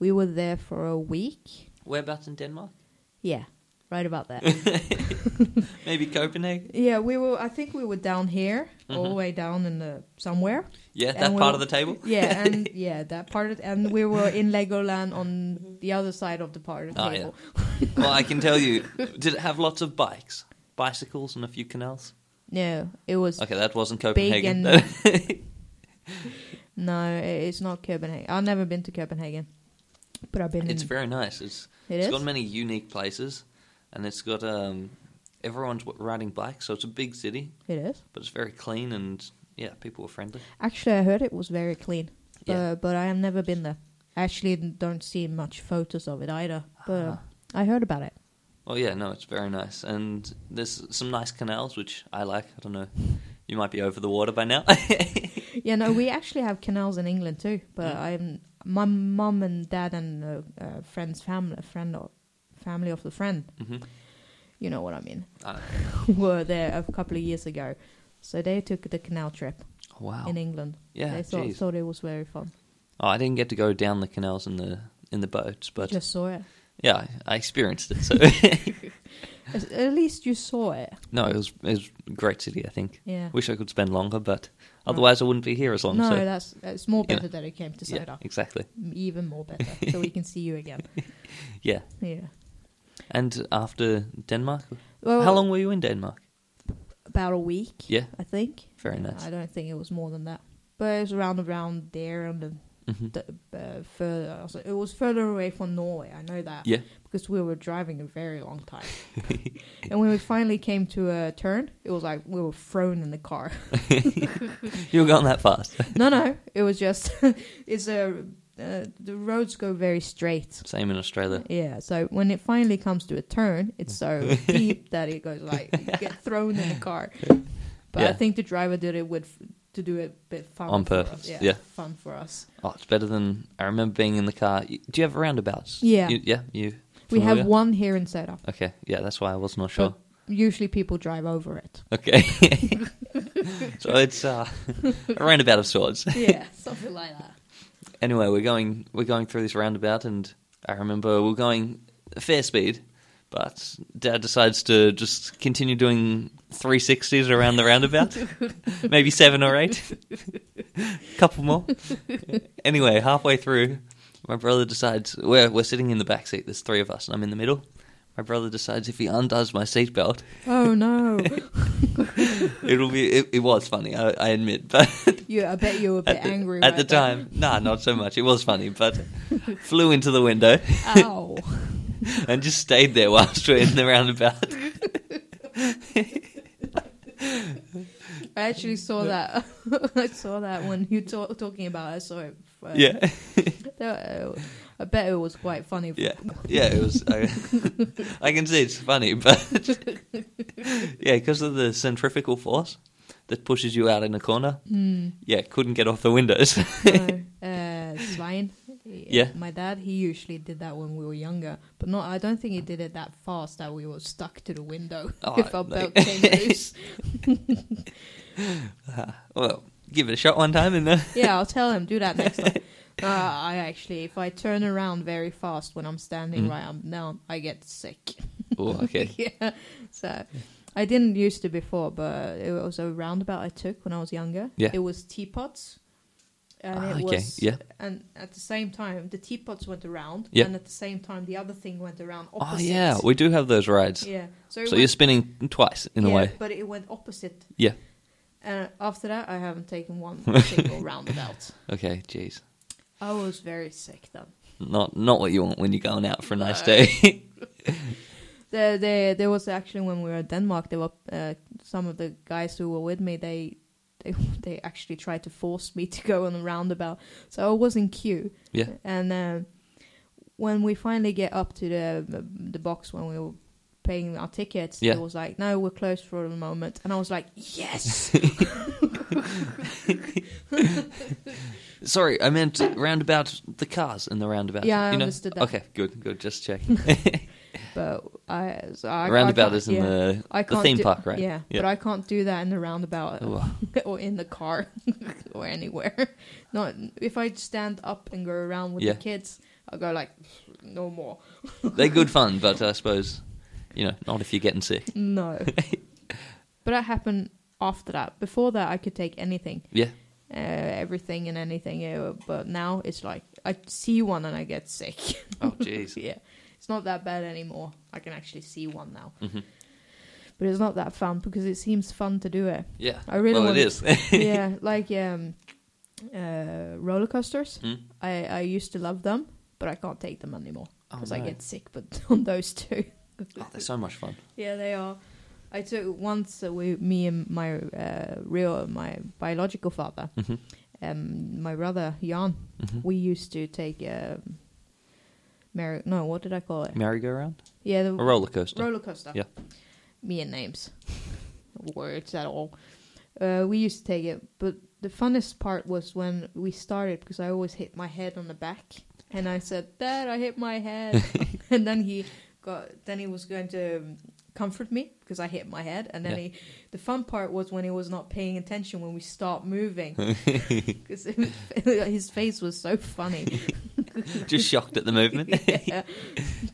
S1: we were there for a week.
S2: Whereabouts in Denmark?
S1: Yeah, right about that.
S2: Maybe Copenhagen.
S1: yeah, we were. I think we were down here,
S2: Mm-hmm.
S1: all the way down in the somewhere.
S2: Yeah,
S1: And
S2: that
S1: we'll-
S2: part of the table.
S1: Yeah, and yeah, that part. Of, and we were in Legoland on the other side of the part of the
S2: Oh,
S1: table.
S2: Well, I can tell you, did it have lots of bikes, bicycles, and a few canals?
S1: No, it was
S2: Okay, that wasn't
S1: Big
S2: Copenhagen.
S1: no. it- It's not Copenhagen. I've never been to Copenhagen, but I've been.
S2: it's
S1: in,
S2: very nice. It's
S1: it
S2: it's
S1: is?
S2: got many unique places, and it's got um, everyone's w- riding bikes, so it's a big city,
S1: it is.
S2: but it's very clean and yeah, people are friendly.
S1: Actually, I heard it was very clean, but
S2: Yeah.
S1: but I have never been there. I actually don't see much photos of it either, but uh,
S2: Ah.
S1: I heard about it.
S2: Oh yeah, no, it's very nice, and there's some nice canals which I like. I don't know, you might be over the water by now.
S1: Yeah, no, we actually have canals in England too, but
S2: Mm.
S1: I'm my mum and dad and a, a friend's family, friend or family of the friend,
S2: Mhm.
S1: you know what I mean,
S2: Uh,
S1: were there a couple of years ago, so they took the canal trip
S2: wow.
S1: in England.
S2: Oh. Yeah,
S1: they thought,
S2: jeez.
S1: thought it was very fun.
S2: Oh, I didn't get to go down the canals in the in the boats, but
S1: Just saw it.
S2: yeah, I, I experienced it. So
S1: At- At least you saw it.
S2: no, it was it was a great city. I think.
S1: Yeah.
S2: Wish I could spend longer, but otherwise I wouldn't be here as long.
S1: no,
S2: so
S1: that's it's more
S2: Yeah.
S1: better that it came to
S2: yeah,
S1: Soda.
S2: exactly.
S1: Even more better, so we can see you again.
S2: Yeah,
S1: Yeah.
S2: and after Denmark,
S1: Well,
S2: how long were you in Denmark?
S1: About a week.
S2: Yeah,
S1: I think.
S2: very
S1: Yeah,
S2: nice.
S1: I don't think it was more than that. But it was around around there and the,
S2: Mhm.
S1: the, uh, further. Also, it was further away from Norway. I know that.
S2: Yeah.
S1: Because we were driving a very long time, and when we finally came to a turn, it was like we were thrown in the car.
S2: you were gone that fast.
S1: no, no, it was just it's a uh, the roads go very straight.
S2: Same in Australia.
S1: Yeah, so when it finally comes to a turn, it's so deep that it goes like you get thrown in the car. But I
S2: Yeah.
S1: think the driver did it with to do it a bit fun
S2: On
S1: for
S2: purpose,
S1: us. Yeah,
S2: yeah.
S1: fun for us.
S2: Oh, it's better than I remember being in the car. Y- Do you have roundabouts?
S1: Yeah.
S2: You, yeah, you.
S1: We have
S2: familiar?
S1: one here in Soda.
S2: Okay, yeah, that's why I was not sure.
S1: Usually people drive over it.
S2: Okay. so it's uh, a roundabout of sorts.
S1: Yeah, something like that.
S2: Anyway, we're going we're going through this roundabout, and I remember we're going fair speed, but Dad decides to just continue doing three sixties around the roundabout, maybe seven or eight, couple more. Anyway, halfway through, my brother decides we're we're sitting in the back seat. There's three of us, and I'm in the middle. My brother decides if he undoes my seatbelt,
S1: Oh no!
S2: it'll be it, it was funny. I, I admit, but
S1: You, I bet you were a bit
S2: at the,
S1: angry
S2: at the
S1: right
S2: time. Nah, not so much. It was funny, but flew into the window
S1: then. Ow!
S2: and just stayed there whilst we were in the roundabout.
S1: I actually saw that. I saw that when you were talking about. it. I saw it. uh,
S2: Yeah,
S1: Uh, I bet it was quite funny.
S2: yeah, yeah. It was. I, I can see it's funny, but yeah, because of the centrifugal force that pushes you out in a corner.
S1: Hmm.
S2: Yeah, couldn't get off the windows.
S1: No, uh, Svein.
S2: Yeah.
S1: My dad, he usually did that when we were younger, but not. I don't think he did it that fast that we were stuck to the window
S2: Oh,
S1: if our
S2: no.
S1: belt came loose.
S2: Uh, well, give it a shot one time, and uh,
S1: Yeah, I'll tell him do that next time. Uh, I actually, if I turn around very fast when I'm standing
S2: Mm.
S1: right up now, I get sick.
S2: oh, okay.
S1: yeah. So I didn't used to before, but it was a roundabout I took when I was younger.
S2: Yeah.
S1: It was teapots. And
S2: Ah,
S1: it
S2: okay,
S1: was
S2: yeah.
S1: and at the same time the teapots went around
S2: Yeah.
S1: and at the same time the other thing went around
S2: Oh
S1: opposite.
S2: yeah, we do have those rides.
S1: yeah. So, it
S2: So
S1: went,
S2: you're spinning twice in a
S1: yeah,
S2: way.
S1: But it went opposite.
S2: Yeah.
S1: And after that I haven't taken one single roundabout.
S2: Okay, jeez.
S1: I was very sick then.
S2: Not not what you want when you're going out for a
S1: No.
S2: nice day.
S1: There, there, there was actually when we were in Denmark, there were uh, some of the guys who were with me. They, they, they actually tried to force me to go on a roundabout, so I was in queue.
S2: yeah.
S1: And uh, when we finally get up to the the box when we were paying our tickets,
S2: Yeah.
S1: it was like, "No, we're closed for the moment," and I was like, "Yes,
S2: Sorry, I meant roundabout the cars in the roundabout.
S1: Yeah, I
S2: you know?
S1: understood that.
S2: Okay, good, good. Just checking.
S1: but I, so I I
S2: roundabout
S1: can't-
S2: is in
S1: yeah.
S2: the
S1: I
S2: the
S1: can't
S2: theme
S1: do-
S2: park, right?
S1: Yeah,
S2: Yeah.
S1: but I can't do that in the roundabout
S2: Oh.
S1: or in the car or anywhere. Not if I stand up and go around with
S2: Yeah.
S1: the kids, I'll go like, no more.
S2: They're good fun, but I suppose You know, not if you're getting sick.
S1: No. but that happened after that. Before that, I could take anything,
S2: Yeah.
S1: uh, everything and anything. uh, But now it's like I see one and I get sick.
S2: Oh, jeez.
S1: yeah, it's not that bad anymore. I can actually see one now,
S2: Mhm.
S1: but it's not that fun because it seems fun to do it.
S2: Yeah.
S1: I really
S2: well, it
S1: want
S2: is.
S1: yeah, like um, uh, roller coasters.
S2: Hmm?
S1: I I used to love them, but I can't take them anymore
S2: Oh,
S1: because I
S2: no.
S1: get sick. But on those two,
S2: Oh, they're so much fun.
S1: yeah, they are. I took once uh, we, me and my uh, real my biological father,
S2: Mm-hmm.
S1: um, my brother Jan.
S2: Mm-hmm.
S1: We used to take um, merry. No, what did I call it?
S2: Merry-go-round?
S1: Yeah, the
S2: A roller coaster.
S1: roller coaster.
S2: Yeah.
S1: Me and names, words at all. Uh, we used to take it, but the funnest part was when we started because I always hit my head on the back, and I said, "Dad, I hit my head," and then he got. Then he was going to um, comfort me because I hit my head, and then
S2: Yeah.
S1: he. The fun part was when he was not paying attention when we start moving because his face was so funny.
S2: Just shocked at the movement.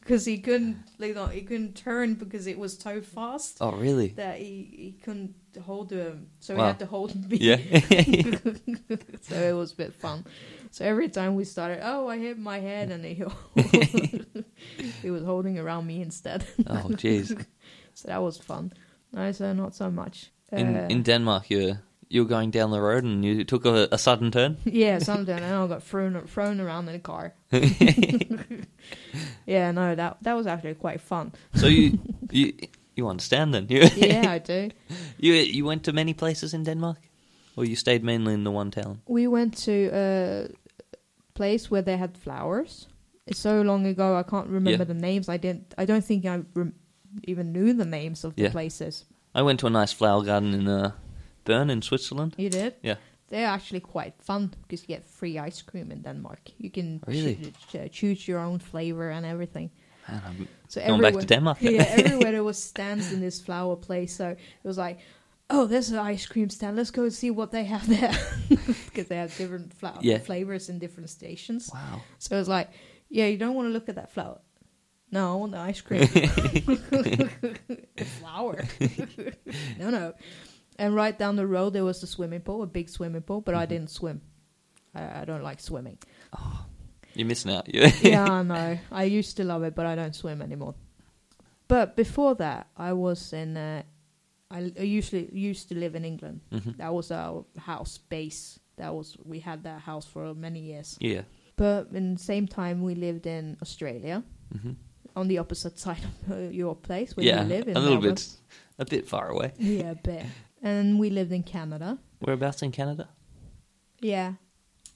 S1: because he couldn't like no, he couldn't turn because it was so fast
S2: Oh, really?
S1: that he, he couldn't hold him so he
S2: Wow.
S1: had to hold me
S2: Yeah.
S1: so it was a bit fun so every time we started oh i hit my head and he, he was holding around me instead
S2: Oh, jeez.
S1: so that was fun i said not so much
S2: In
S1: Uh,
S2: in Denmark, you you were going down the road and you took a, a sudden turn.
S1: yeah something and i got thrown thrown around in a car yeah no that that was actually quite fun
S2: So you you you understand then? You,
S1: yeah i do
S2: you you went to many places in Denmark, or you stayed mainly in the one town.
S1: we went to a place where they had flowers. It's so long ago, I can't remember
S2: Yeah.
S1: the names. I didn't. I don't think I rem- even knew the names of the
S2: Yeah.
S1: places.
S2: I went to a nice flower garden in uh, Bern in Switzerland.
S1: You did?
S2: Yeah.
S1: They're actually quite fun because you get free ice cream in Denmark. You can choo-
S2: Really?
S1: ch- uh, choose your own flavor and everything.
S2: Man, I'm
S1: So
S2: going back to Denmark.
S1: yeah, everywhere there was stands in this flower place. So it was like, oh, there's an ice cream stand. Let's go and see what they have there because they have different flower
S2: Yeah.
S1: flavors in different stations.
S2: Wow.
S1: So it was like, yeah, you don't want to look at that flower. No, I want the ice cream. the flower. no, no. And right down the road there was the swimming pool, a big swimming pool, but I didn't swim. I, I don't like swimming.
S2: You're missing out. Yeah.
S1: yeah, I know. I used to love it, but I don't swim anymore. But before that, I was in. Uh, I, I usually used to live in England.
S2: Mhm.
S1: That was our house base. That was we had that house for many years.
S2: yeah.
S1: But in the same time, we lived in Australia,
S2: Mhm.
S1: on the opposite side of uh, your place where
S2: Yeah.
S1: you live. In
S2: a little
S1: Melbourne.
S2: bit, a bit far away.
S1: Yeah, a bit. And we lived in Canada.
S2: Whereabouts in Canada?
S1: Yeah,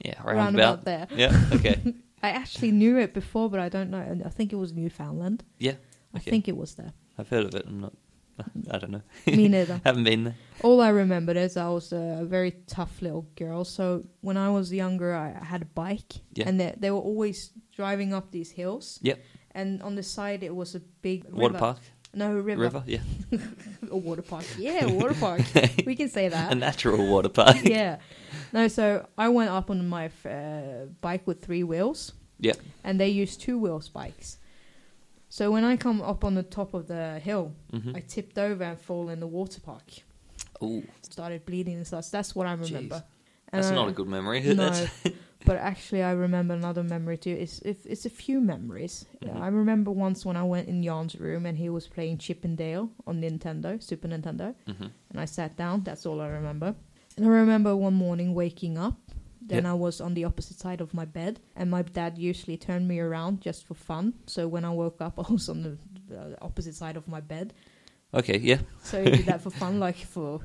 S2: Yeah,
S1: around,
S2: roundabout.
S1: about there.
S2: Yeah. Okay.
S1: I actually knew it before, but I don't know. And I think it was Newfoundland.
S2: Yeah.
S1: I
S2: Okay.
S1: think it was there.
S2: I've heard of it. I'm not. I don't know.
S1: Me neither.
S2: Haven't been there.
S1: All I remember is I was a very tough little girl. So when I was younger, I I had a bike,
S2: Yeah.
S1: and they, they were always driving up these hills.
S2: Yep.
S1: And on the side, it was a big river.
S2: Water park,
S1: No river.
S2: river, yeah,
S1: A water park. Yeah, a water park. we can say
S2: a
S1: that.
S2: natural water park.
S1: yeah. No, so I went up on my uh, bike with three wheels.
S2: Yep.
S1: And they use two wheels bikes. So when I come up on the top of the hill,
S2: Mm-hmm.
S1: I tipped over and fall in the water park.
S2: Ooh,
S1: Started bleeding and stuff. That's what I remember.
S2: Jeez.
S1: And
S2: that's
S1: I-
S2: not a good memory.
S1: No,
S2: That's-
S1: but actually, I remember another memory too. It's if it's a few memories.
S2: Mhm.
S1: I remember once when I went in Jan's room and he was playing Chip and Dale on Nintendo, Super Nintendo
S2: Mhm.
S1: and I sat down. That's all I remember. And I remember one morning waking up. Then
S2: Yeah.
S1: I was on the opposite side of my bed, and my dad usually turned me around just for fun. So when I woke up, I was on the, the opposite side of my bed.
S2: Okay, yeah,
S1: So he did that for fun, like for.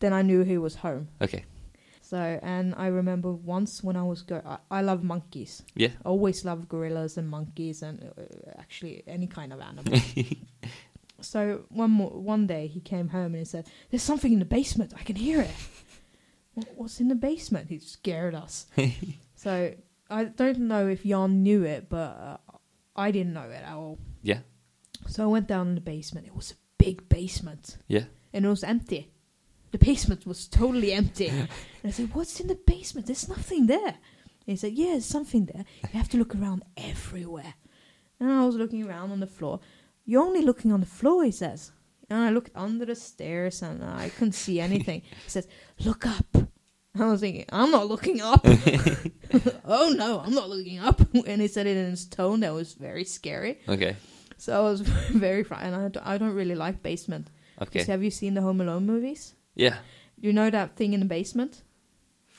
S1: Then I knew he was home.
S2: okay,
S1: So and I remember once when I was go, I, I love monkeys.
S2: yeah.
S1: I always love gorillas and monkeys and uh, actually any kind of animal. so one mo- one day he came home and he said, "There's something in the basement. I can hear it." what, what's in the basement? He scared us. so I don't know if Jan knew it, but uh, I didn't know it at all.
S2: Yeah.
S1: So I went down in the basement. It was a big basement.
S2: Yeah.
S1: And it was empty. The basement was totally empty. and I said, What's in the basement? There's nothing there. And he said, Yeah, there's something there. You have to look around everywhere. And I was looking around on the floor. You're only looking on the floor, he says. And I looked under the stairs and I couldn't see anything. he says, Look up. I was thinking, I'm not looking up. oh no, I'm not looking up. And he said it in his tone that was very scary.
S2: Okay.
S1: So I was very frightened. I don't, I don't really like basement. 'Cause
S2: Okay.
S1: Have you seen the Home Alone movies?
S2: Yeah.
S1: You know that thing in the basement?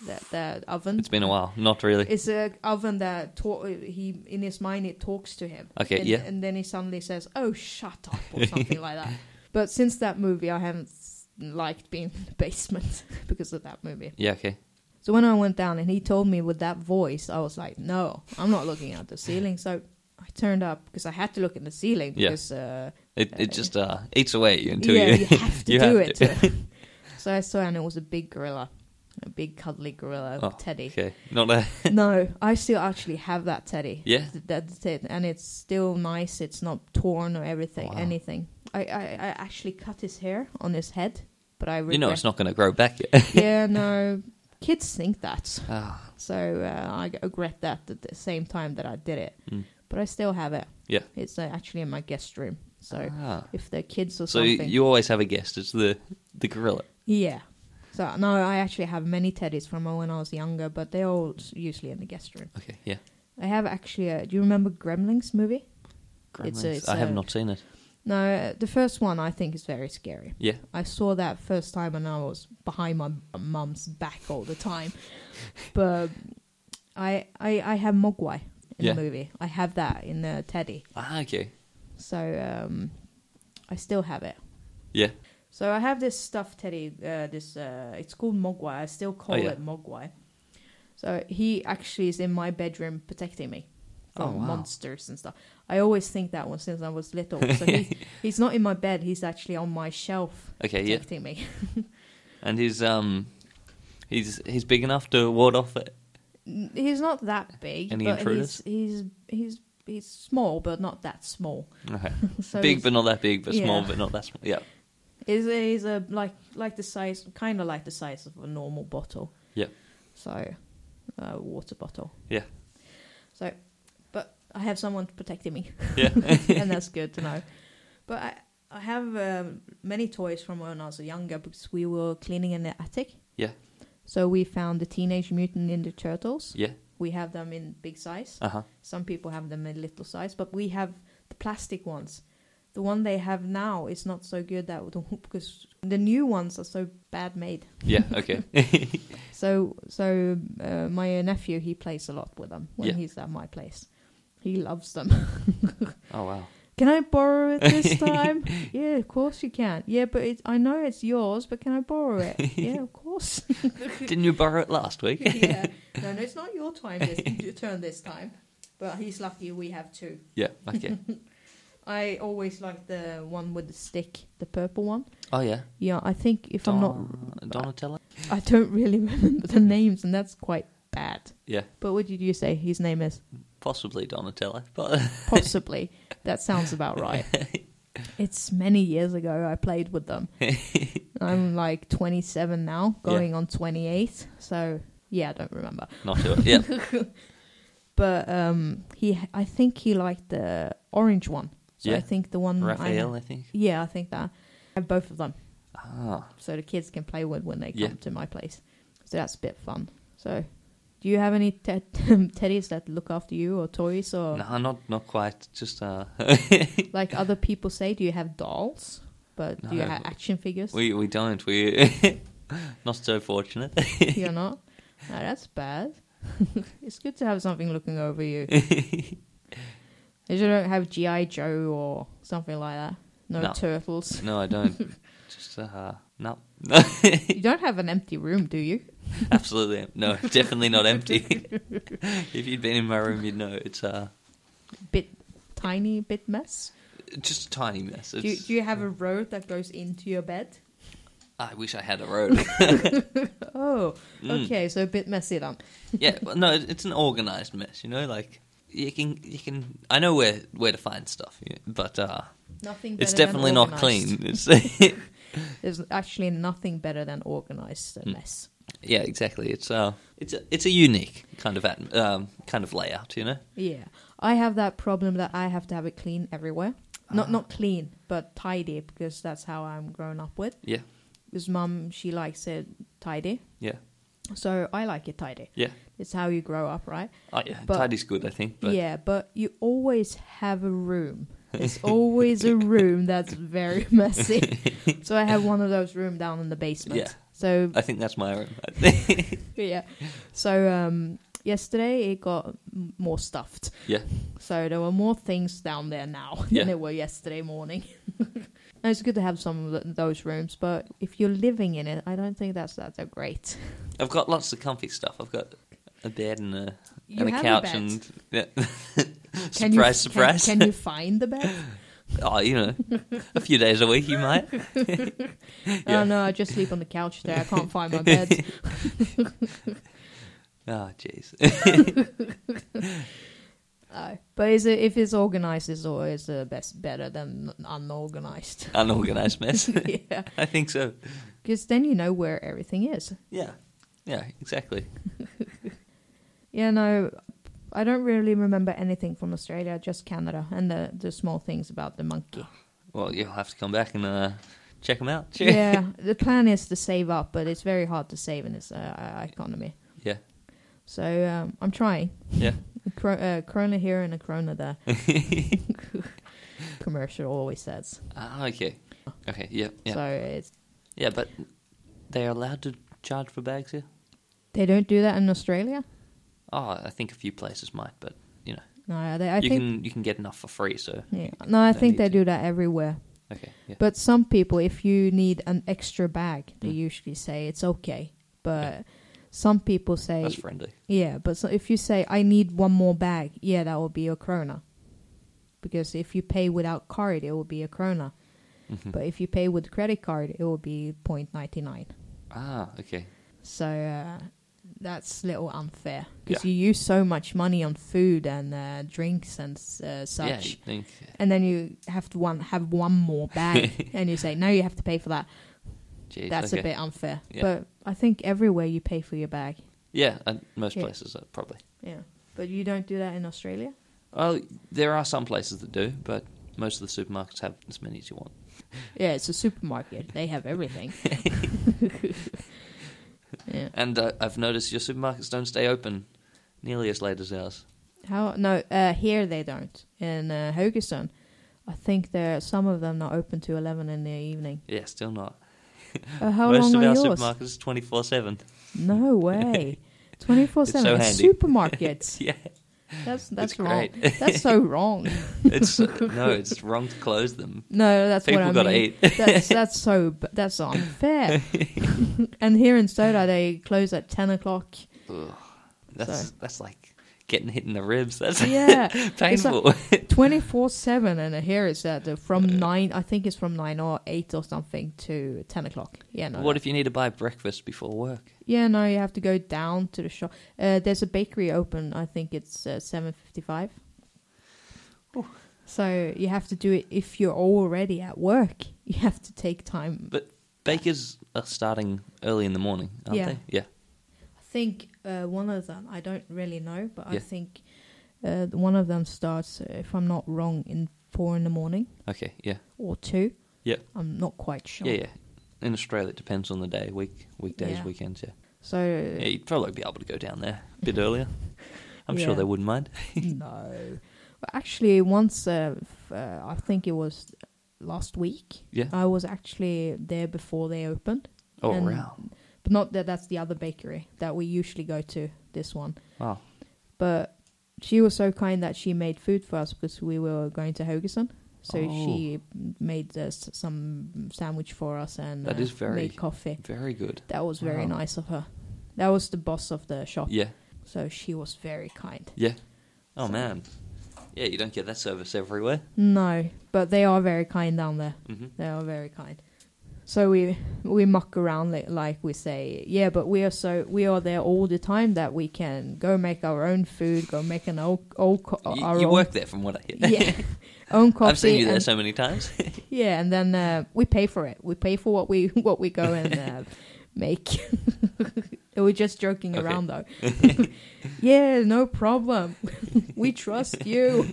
S1: That, that oven?
S2: It's been a while. Not really.
S1: Um, It's a oven that talk, he in his mind it talks to him.
S2: Okay,
S1: and,
S2: yeah.
S1: And then he suddenly says, "Oh, shut up," or something like that. But since that movie, I haven't s- liked being in the basement because of that movie.
S2: Yeah. Okay.
S1: So when I went down and he told me with that voice, I was like, "No, I'm not looking at the ceiling." So I turned up because I had to look at the ceiling
S2: Yeah.
S1: because uh,
S2: It it just uh eats away at you until
S1: yeah,
S2: you.
S1: you have to
S2: you
S1: do
S2: have
S1: it. so I saw, and it was a big gorilla, a big cuddly gorilla
S2: Oh,
S1: teddy.
S2: Okay. Not a.
S1: no, I still actually have that teddy.
S2: Yeah.
S1: Th- that's it, and it's still nice. It's not torn or everything,
S2: Wow.
S1: anything. I, I, I actually cut his hair on his head, but I regret.
S2: You know, it's not going to grow back yet.
S1: yeah, no, kids think that,
S2: Ah.
S1: so uh, I g- regret that at the same time that I did it.
S2: Mm.
S1: But I still have it.
S2: Yeah.
S1: it's uh, actually in my guest room. So
S2: Ah.
S1: if they're kids or
S2: So you,
S1: something,
S2: you always have a guest. It's the the gorilla.
S1: yeah. So no, I actually have many teddies from when I was younger, but they're all s- usually in the guest room.
S2: Okay. Yeah.
S1: I have actually. A, do you remember Gremlings movie? It's a-
S2: Gremlins.
S1: it's
S2: I have
S1: a-
S2: not seen it.
S1: No, uh, the first one I think is very scary.
S2: Yeah.
S1: I saw that first time and I was behind my mum's back all the time. but I I I have Mogwai in
S2: Yeah.
S1: the movie. I have that in the Teddy.
S2: Ah. Okay.
S1: So um I still have it.
S2: Yeah.
S1: So I have this stuffed teddy. Uh, this uh, it's called Mogwai. I still call
S2: Oh, yeah.
S1: it Mogwai. So he actually is in my bedroom protecting me from
S2: Oh, wow.
S1: monsters and stuff. I always think that one since I was little. So he, he's not in my bed. He's actually on my shelf
S2: Okay. Yeah.
S1: protecting me.
S2: And he's um, he's he's big enough to ward off it.
S1: He's not that big,
S2: Any
S1: but
S2: intruders?
S1: he's, he's he's he's small, but not that small.
S2: Okay.
S1: So
S2: big
S1: he's-
S2: but not that big, but small
S1: Yeah.
S2: but not that small. Yeah.
S1: Is is a like like the size, kind of like the size of a normal bottle.
S2: Yep.
S1: So, a water bottle.
S2: Yeah.
S1: So, but I have someone protecting me,
S2: Yeah.
S1: and that's good to know. But I I have um, many toys from when I was younger because we were cleaning in the attic.
S2: Yeah.
S1: So we found the Teenage Mutant Ninja Turtles.
S2: Yeah.
S1: We have them in big size.
S2: Uh huh.
S1: Some people have them in little size, but we have the plastic ones. The one they have now is not so good that because the new ones are so bad made.
S2: Yeah. Okay.
S1: So so uh, my nephew he plays a lot with them when
S2: Yeah.
S1: he's at my place. He loves them.
S2: oh wow.
S1: can I borrow it this time? yeah, of course you can. Yeah, but it, I know it's yours, but can I borrow it? yeah, of course.
S2: Didn't you borrow it last week?
S1: yeah. No, no, it's not your time this your turn this time. But he's lucky we have two.
S2: Yeah. Okay.
S1: I always like the one with the stick, the purple one.
S2: Oh yeah.
S1: Yeah, I think if I'm not,
S2: Don- Donatello.
S1: I don't really remember the names, and that's quite bad.
S2: Yeah.
S1: But what did you say his name is?
S2: Possibly Donatello, but
S1: Possibly. that sounds about right. It's many years ago I played with them. I'm like 27 now,
S2: Yeah.
S1: going on 28. So yeah, I don't remember.
S2: not to it. Yeah.
S1: But um, he, I think he liked the orange one. So
S2: Yeah.
S1: I think the one I-
S2: Raphael, I think.
S1: yeah, I think that. I have both of them.
S2: Ah.
S1: so the kids can play with when they come
S2: Yeah.
S1: to my place. So that's a bit fun. So, do you have any te- teddies that look after you or toys or
S2: No, not not quite. Just uh,
S1: like other people say? Do you have dolls? But do you
S2: No.
S1: have action figures?
S2: we we don't. We not so fortunate.
S1: You're not. No, that's bad. it's good to have something looking over you. If you don't have GI Joe or something like that. No,
S2: No.
S1: turtles.
S2: No, I don't. Just uh, no.
S1: you don't have an empty room, do you?
S2: Absolutely em- no. Definitely not empty. if you'd been in my room, you'd know it's uh,
S1: Bit tiny, bit mess.
S2: just a tiny mess.
S1: Do you,
S2: It's,
S1: do you have a road that goes into your bed?
S2: I wish I had a road.
S1: Oh,
S2: Mm.
S1: okay, so a bit messy then.
S2: yeah, well, no, it- it's an organized mess. You know, like you can you can. I know where where to find stuff, yeah, but uh,
S1: Nothing.
S2: it's
S1: better than
S2: definitely not
S1: organised.
S2: clean. It's,
S1: There's actually nothing better than organized
S2: Mm.
S1: mess.
S2: yeah, exactly. It's uh, it's a it's a unique kind of atm- um, kind of layout. You know.
S1: Yeah, I have that problem that I have to have it clean everywhere.
S2: Ah.
S1: Not not clean, but tidy because that's how I'm grown up with.
S2: Yeah.
S1: Because mum she likes it tidy.
S2: Yeah.
S1: So I like it tidy.
S2: Yeah.
S1: It's how you grow up, right?
S2: Oh yeah,
S1: But-
S2: tidy's good, I think. But
S1: yeah, but you always have a room. It's always a room that's very messy. so I have one of those room down in the basement.
S2: Yeah.
S1: So
S2: I think that's my room. I think.
S1: yeah. So um, yesterday it got m- more stuffed.
S2: Yeah.
S1: So there were more things down there now
S2: Yeah.
S1: than there were yesterday morning. and it's good to have some of th those rooms, but if you're living in it, I don't think that's that, that great.
S2: I've got lots of comfy stuff. I've got a bed and a
S1: You
S2: and a
S1: have
S2: couch
S1: a bed.
S2: and yeah.
S1: Can you-
S2: surprise,
S1: can-
S2: surprise.
S1: Can, you find the bed?
S2: oh, you know, a few days a week you might. Yeah.
S1: Oh no, I just sleep on the couch there. I can't find my bed.
S2: Oh, jeez.
S1: No. But is it, if it's organized, it's always the best, better than unorganized.
S2: Unorganized mess.
S1: yeah,
S2: I think so.
S1: because then you know where everything is.
S2: Yeah. Yeah, exactly.
S1: Yeah, no, I don't really remember anything from Australia, just Canada and the the small things about the monkey.
S2: Well, you'll have to come back and uh, check them out.
S1: yeah, the plan is to save up, but it's very hard to save in this uh, economy.
S2: Yeah.
S1: So um, I'm trying.
S2: Yeah.
S1: A cro- uh, corona here and a corona there. Commercial always says.
S2: Ah, okay. Okay, yeah, yeah.
S1: So it's
S2: Yeah, but they are allowed to charge for bags here?
S1: they don't do that in Australia.
S2: Oh, I think a few places might, but you know,
S1: No, they, I
S2: you
S1: think.
S2: can you can get enough for free. So
S1: yeah. No, I
S2: don't
S1: think
S2: need
S1: they
S2: to.
S1: do that everywhere.
S2: okay, yeah,
S1: But some people, if you need an extra bag, they
S2: Mm.
S1: usually say it's okay. But some people say,
S2: that's friendly.
S1: yeah. But so if you say I need one more bag, yeah, that will be a krona. Because if you pay without card, it will be a krona.
S2: Mhm.
S1: But if you pay with credit card, it will be 0.99.
S2: Ah, okay,
S1: So uh, that's a little unfair because
S2: Yeah.
S1: you use so much money on food and uh, drinks and uh, such.
S2: yeah, you think,
S1: And then you have to one have one more bag, and you say no, you have to pay for that.
S2: geez,
S1: That's
S2: okay.
S1: a bit unfair.
S2: Yeah.
S1: But I think everywhere you pay for your bag.
S2: Yeah, uh, most
S1: Yeah.
S2: places uh, probably.
S1: Yeah. But you don't do that in Australia?
S2: Well, there are some places that do, but most of the supermarkets have as many as you want.
S1: Yeah, it's a supermarket. They have everything. yeah.
S2: And uh, I've noticed your supermarkets don't stay open nearly as late as ours.
S1: How no, uh, here they don't. In uh, Haugesund, I think there some of them are open to 11 in the evening.
S2: Yeah, still not.
S1: Uh, how
S2: most
S1: long
S2: of
S1: are
S2: our
S1: yours?
S2: supermarkets is twenty four seven.
S1: No way. 24/7
S2: so
S1: It's
S2: handy.
S1: supermarkets.
S2: Yeah,
S1: That's that's
S2: It's
S1: wrong.
S2: great.
S1: That's so wrong.
S2: it's uh, no, it's wrong to close them.
S1: No, that's
S2: People
S1: what I
S2: gotta
S1: mean. that's that's so b- that's unfair. and here in Stoda, they close at ten o'clock.
S2: Ugh. That's
S1: So-
S2: that's like getting hit in the ribs. That's
S1: Yeah,
S2: painful.
S1: twenty four seven, and here it's at the,
S2: Uh.
S1: from nine. I think it's from nine or eight or something to ten o'clock. Yeah, no.
S2: What if you need to buy breakfast before work?
S1: yeah, no. You have to go down to the shop. Uh, there's a bakery open. I think it's uh, seven fifty five.
S2: Ooh.
S1: So you have to do it if you're already at work. You have to take time.
S2: But bakers are starting early in the morning, aren't
S1: Yeah.
S2: they? Yeah.
S1: I think uh, one of them, I don't really know, but I
S2: Yeah.
S1: think uh, one of them starts, uh, if I'm not wrong, in four in the morning
S2: Okay. Yeah.
S1: or two.
S2: Yeah.
S1: I'm not quite sure.
S2: Yeah. Yeah. In Australia, it depends on the day, week, weekdays,
S1: Yeah.
S2: weekends. Yeah.
S1: So,
S2: Yeah, you'd probably be able to go down there a bit earlier. I'm
S1: Yeah.
S2: sure they wouldn't mind.
S1: no. But actually, once, uh, f- uh, I think it was last week,
S2: Yeah.
S1: I was actually there before they opened.
S2: Oh,
S1: And-
S2: wow.
S1: But not that that's the other bakery that we usually go to, this one.
S2: Wow.
S1: but she was so kind that she made food for us because we were going to Hogeson. So
S2: Oh.
S1: she made us some sandwich for us and uh,
S2: That is very-
S1: made coffee.
S2: Very good.
S1: That was very
S2: Wow.
S1: nice of her. That was the boss of the shop.
S2: Yeah.
S1: So she was very kind.
S2: Yeah. Oh,
S1: So-
S2: man. Yeah, you don't get that service everywhere.
S1: No, but they are very kind down there.
S2: hmm
S1: They are very kind. So we we muck around like, like we say, yeah, but we are so we are there all the time that we can go make our own food, go make an old, old co- our
S2: You, you
S1: own,
S2: work there, from what I hear.
S1: yeah, own coffee.
S2: I've seen you there
S1: and-
S2: so many times.
S1: Yeah, and then uh, we pay for it. We pay for what we what we go and uh, make. We're just joking
S2: Okay.
S1: around though. yeah, no problem. we trust you.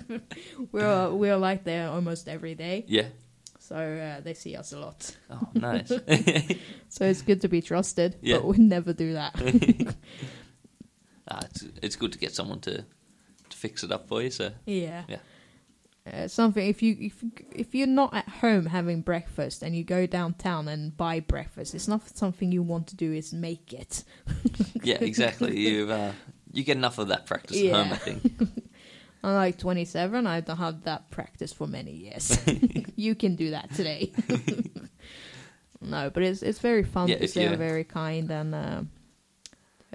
S1: we're we're like there almost every day,
S2: Yeah.
S1: so uh, they see us a lot.
S2: Oh, nice.
S1: So it's good to be trusted,
S2: Yeah.
S1: but we never do that.
S2: ah, it's, it's good to get someone to, to fix it up for you. So
S1: Yeah.
S2: Yeah.
S1: Uh, something if you if if you're not at home having breakfast and you go downtown and buy breakfast, it's not something you want to do. Is make it.
S2: yeah, exactly. You uh, you get enough of that practice at home,
S1: Yeah.
S2: I think.
S1: I'm like 27. I don't have that practice for many years. you can do that today. no, but it's it's very fun
S2: Yeah,
S1: because
S2: if
S1: they're
S2: you-
S1: very kind and uh,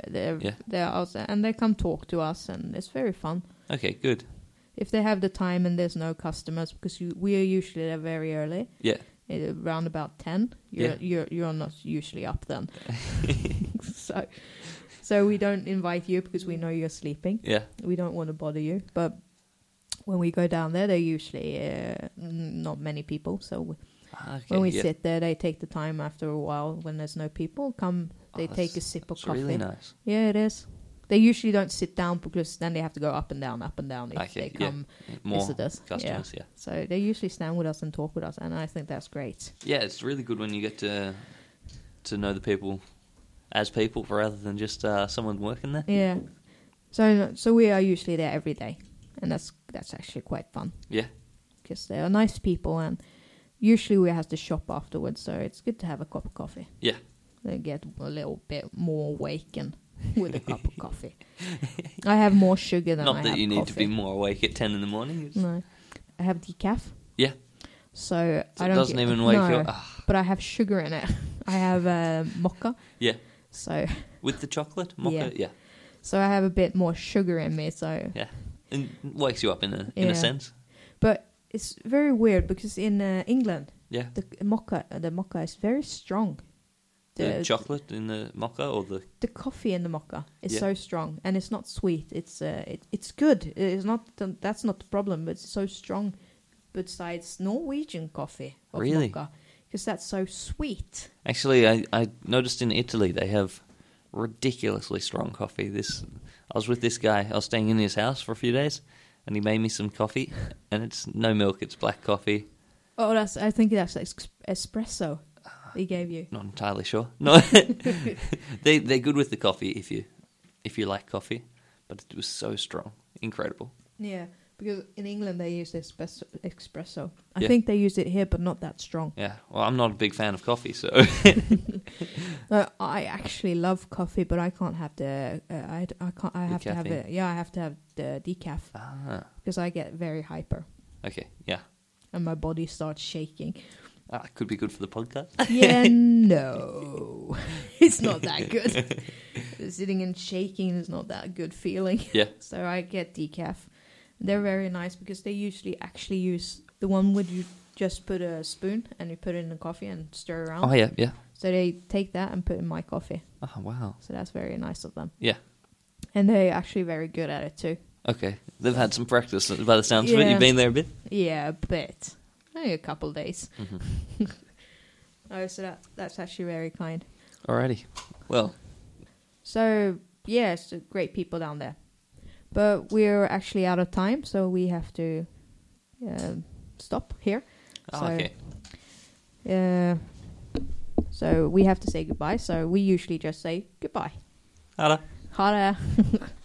S1: they're
S2: Yeah.
S1: they're also, and they come talk to us and it's very fun.
S2: Okay, good.
S1: If they have the time and there's no customers because you, we are usually there very early.
S2: Yeah.
S1: uh, around about 10 you're,
S2: Yeah.
S1: you're, you're not usually up then so so we don't invite you because we know you're sleeping
S2: Yeah.
S1: we don't want to bother you but when we go down there they're usually uh, n- not many people so we,
S2: Ah, Okay,
S1: when we
S2: yeah.
S1: sit there they take the time after a while when there's no people come they
S2: Oh,
S1: take a
S2: that's-
S1: sip of
S2: it's
S1: coffee
S2: really nice.
S1: yeah it is they usually don't sit down because then they have to go up and down up and down if
S2: Okay,
S1: they
S2: yeah.
S1: come
S2: More
S1: visitors yeah.
S2: customers, yeah.
S1: so they usually stand with us and talk with us and i think that's great
S2: yeah. it's really good when you get to to know the people as people rather than just uh, someone working there.
S1: Yeah. So so we are usually there every day, and that's that's actually quite fun
S2: Yeah.
S1: because they are nice people, and usually we have to shop afterwards, so it's good to have a cup of coffee.
S2: Yeah.
S1: They get a little bit more awakened with a cup of coffee. I have more sugar than I
S2: Not that
S1: have
S2: you need to be
S1: coffee.
S2: more awake at 10 in the morning. It's,
S1: No, I have decaf.
S2: Yeah.
S1: So,
S2: so
S1: I
S2: it
S1: don't
S2: doesn't
S1: get-
S2: even wake you
S1: no,
S2: up. Ah,
S1: But I have sugar in it. I have uh, mocha.
S2: Yeah.
S1: So
S2: with the chocolate? Mocha? Yeah.
S1: so I have a bit more sugar in me. So
S2: And wakes you up in a, in
S1: Yeah.
S2: a sense.
S1: But it's very weird because in uh, England,
S2: Yeah.
S1: the mocha, the mocha is very strong.
S2: The, chocolate in the mocha or the.
S1: the coffee in the mocha is
S2: Yeah.
S1: so strong, and it's not sweet. It's uh, it, it's good. It's not that's not the problem. But it's so strong. Besides Norwegian coffee, of
S2: Really?
S1: because that's so sweet.
S2: Actually, I, I noticed in Italy they have ridiculously strong coffee. This I was with this guy. I was staying in his house for a few days, and he made me some coffee. And it's no milk; it's black coffee.
S1: Oh, that's I think that's ex- espresso. They gave you.
S2: Not entirely sure. No, they they're good with the coffee if you if you like coffee, but it was so strong, incredible.
S1: Yeah, because in England they use espresso. espresso. I
S2: Yeah.
S1: think they use it here, but not that strong.
S2: Yeah. Well, I'm not a big fan of coffee, so
S1: No, I actually love coffee, but I can't have the. Uh, I, I can't. I
S2: The
S1: have to have
S2: caffeine?
S1: it. Yeah, I have to have the decaf
S2: ah,
S1: because I get very hyper
S2: okay, yeah,
S1: and my body starts shaking.
S2: ah, could be good for the podcast.
S1: Yeah, no, it's not that good. Sitting and shaking is not that good feeling.
S2: Yeah.
S1: So I get decaf. They're very nice because they usually actually use the one where you just put a spoon and you put it in the coffee and stir around.
S2: Oh yeah, yeah.
S1: So they take that and put it in my coffee.
S2: Oh wow.
S1: So that's very nice of them.
S2: Yeah.
S1: And they're actually very good at it too.
S2: Okay, they've had some practice by the sounds of it.
S1: Yeah.
S2: You've been there a bit.
S1: Yeah, a bit. Only a couple of days.
S2: Mhm.
S1: oh, so that that's actually very kind.
S2: Alrighty. Well,
S1: So yeah, it's the great people down there. But we're actually out of time, so we have to um stop here.
S2: oh,
S1: So-
S2: okay.
S1: Uh, so we have to say goodbye. So we usually just say goodbye.
S2: Hello.
S1: Ha det.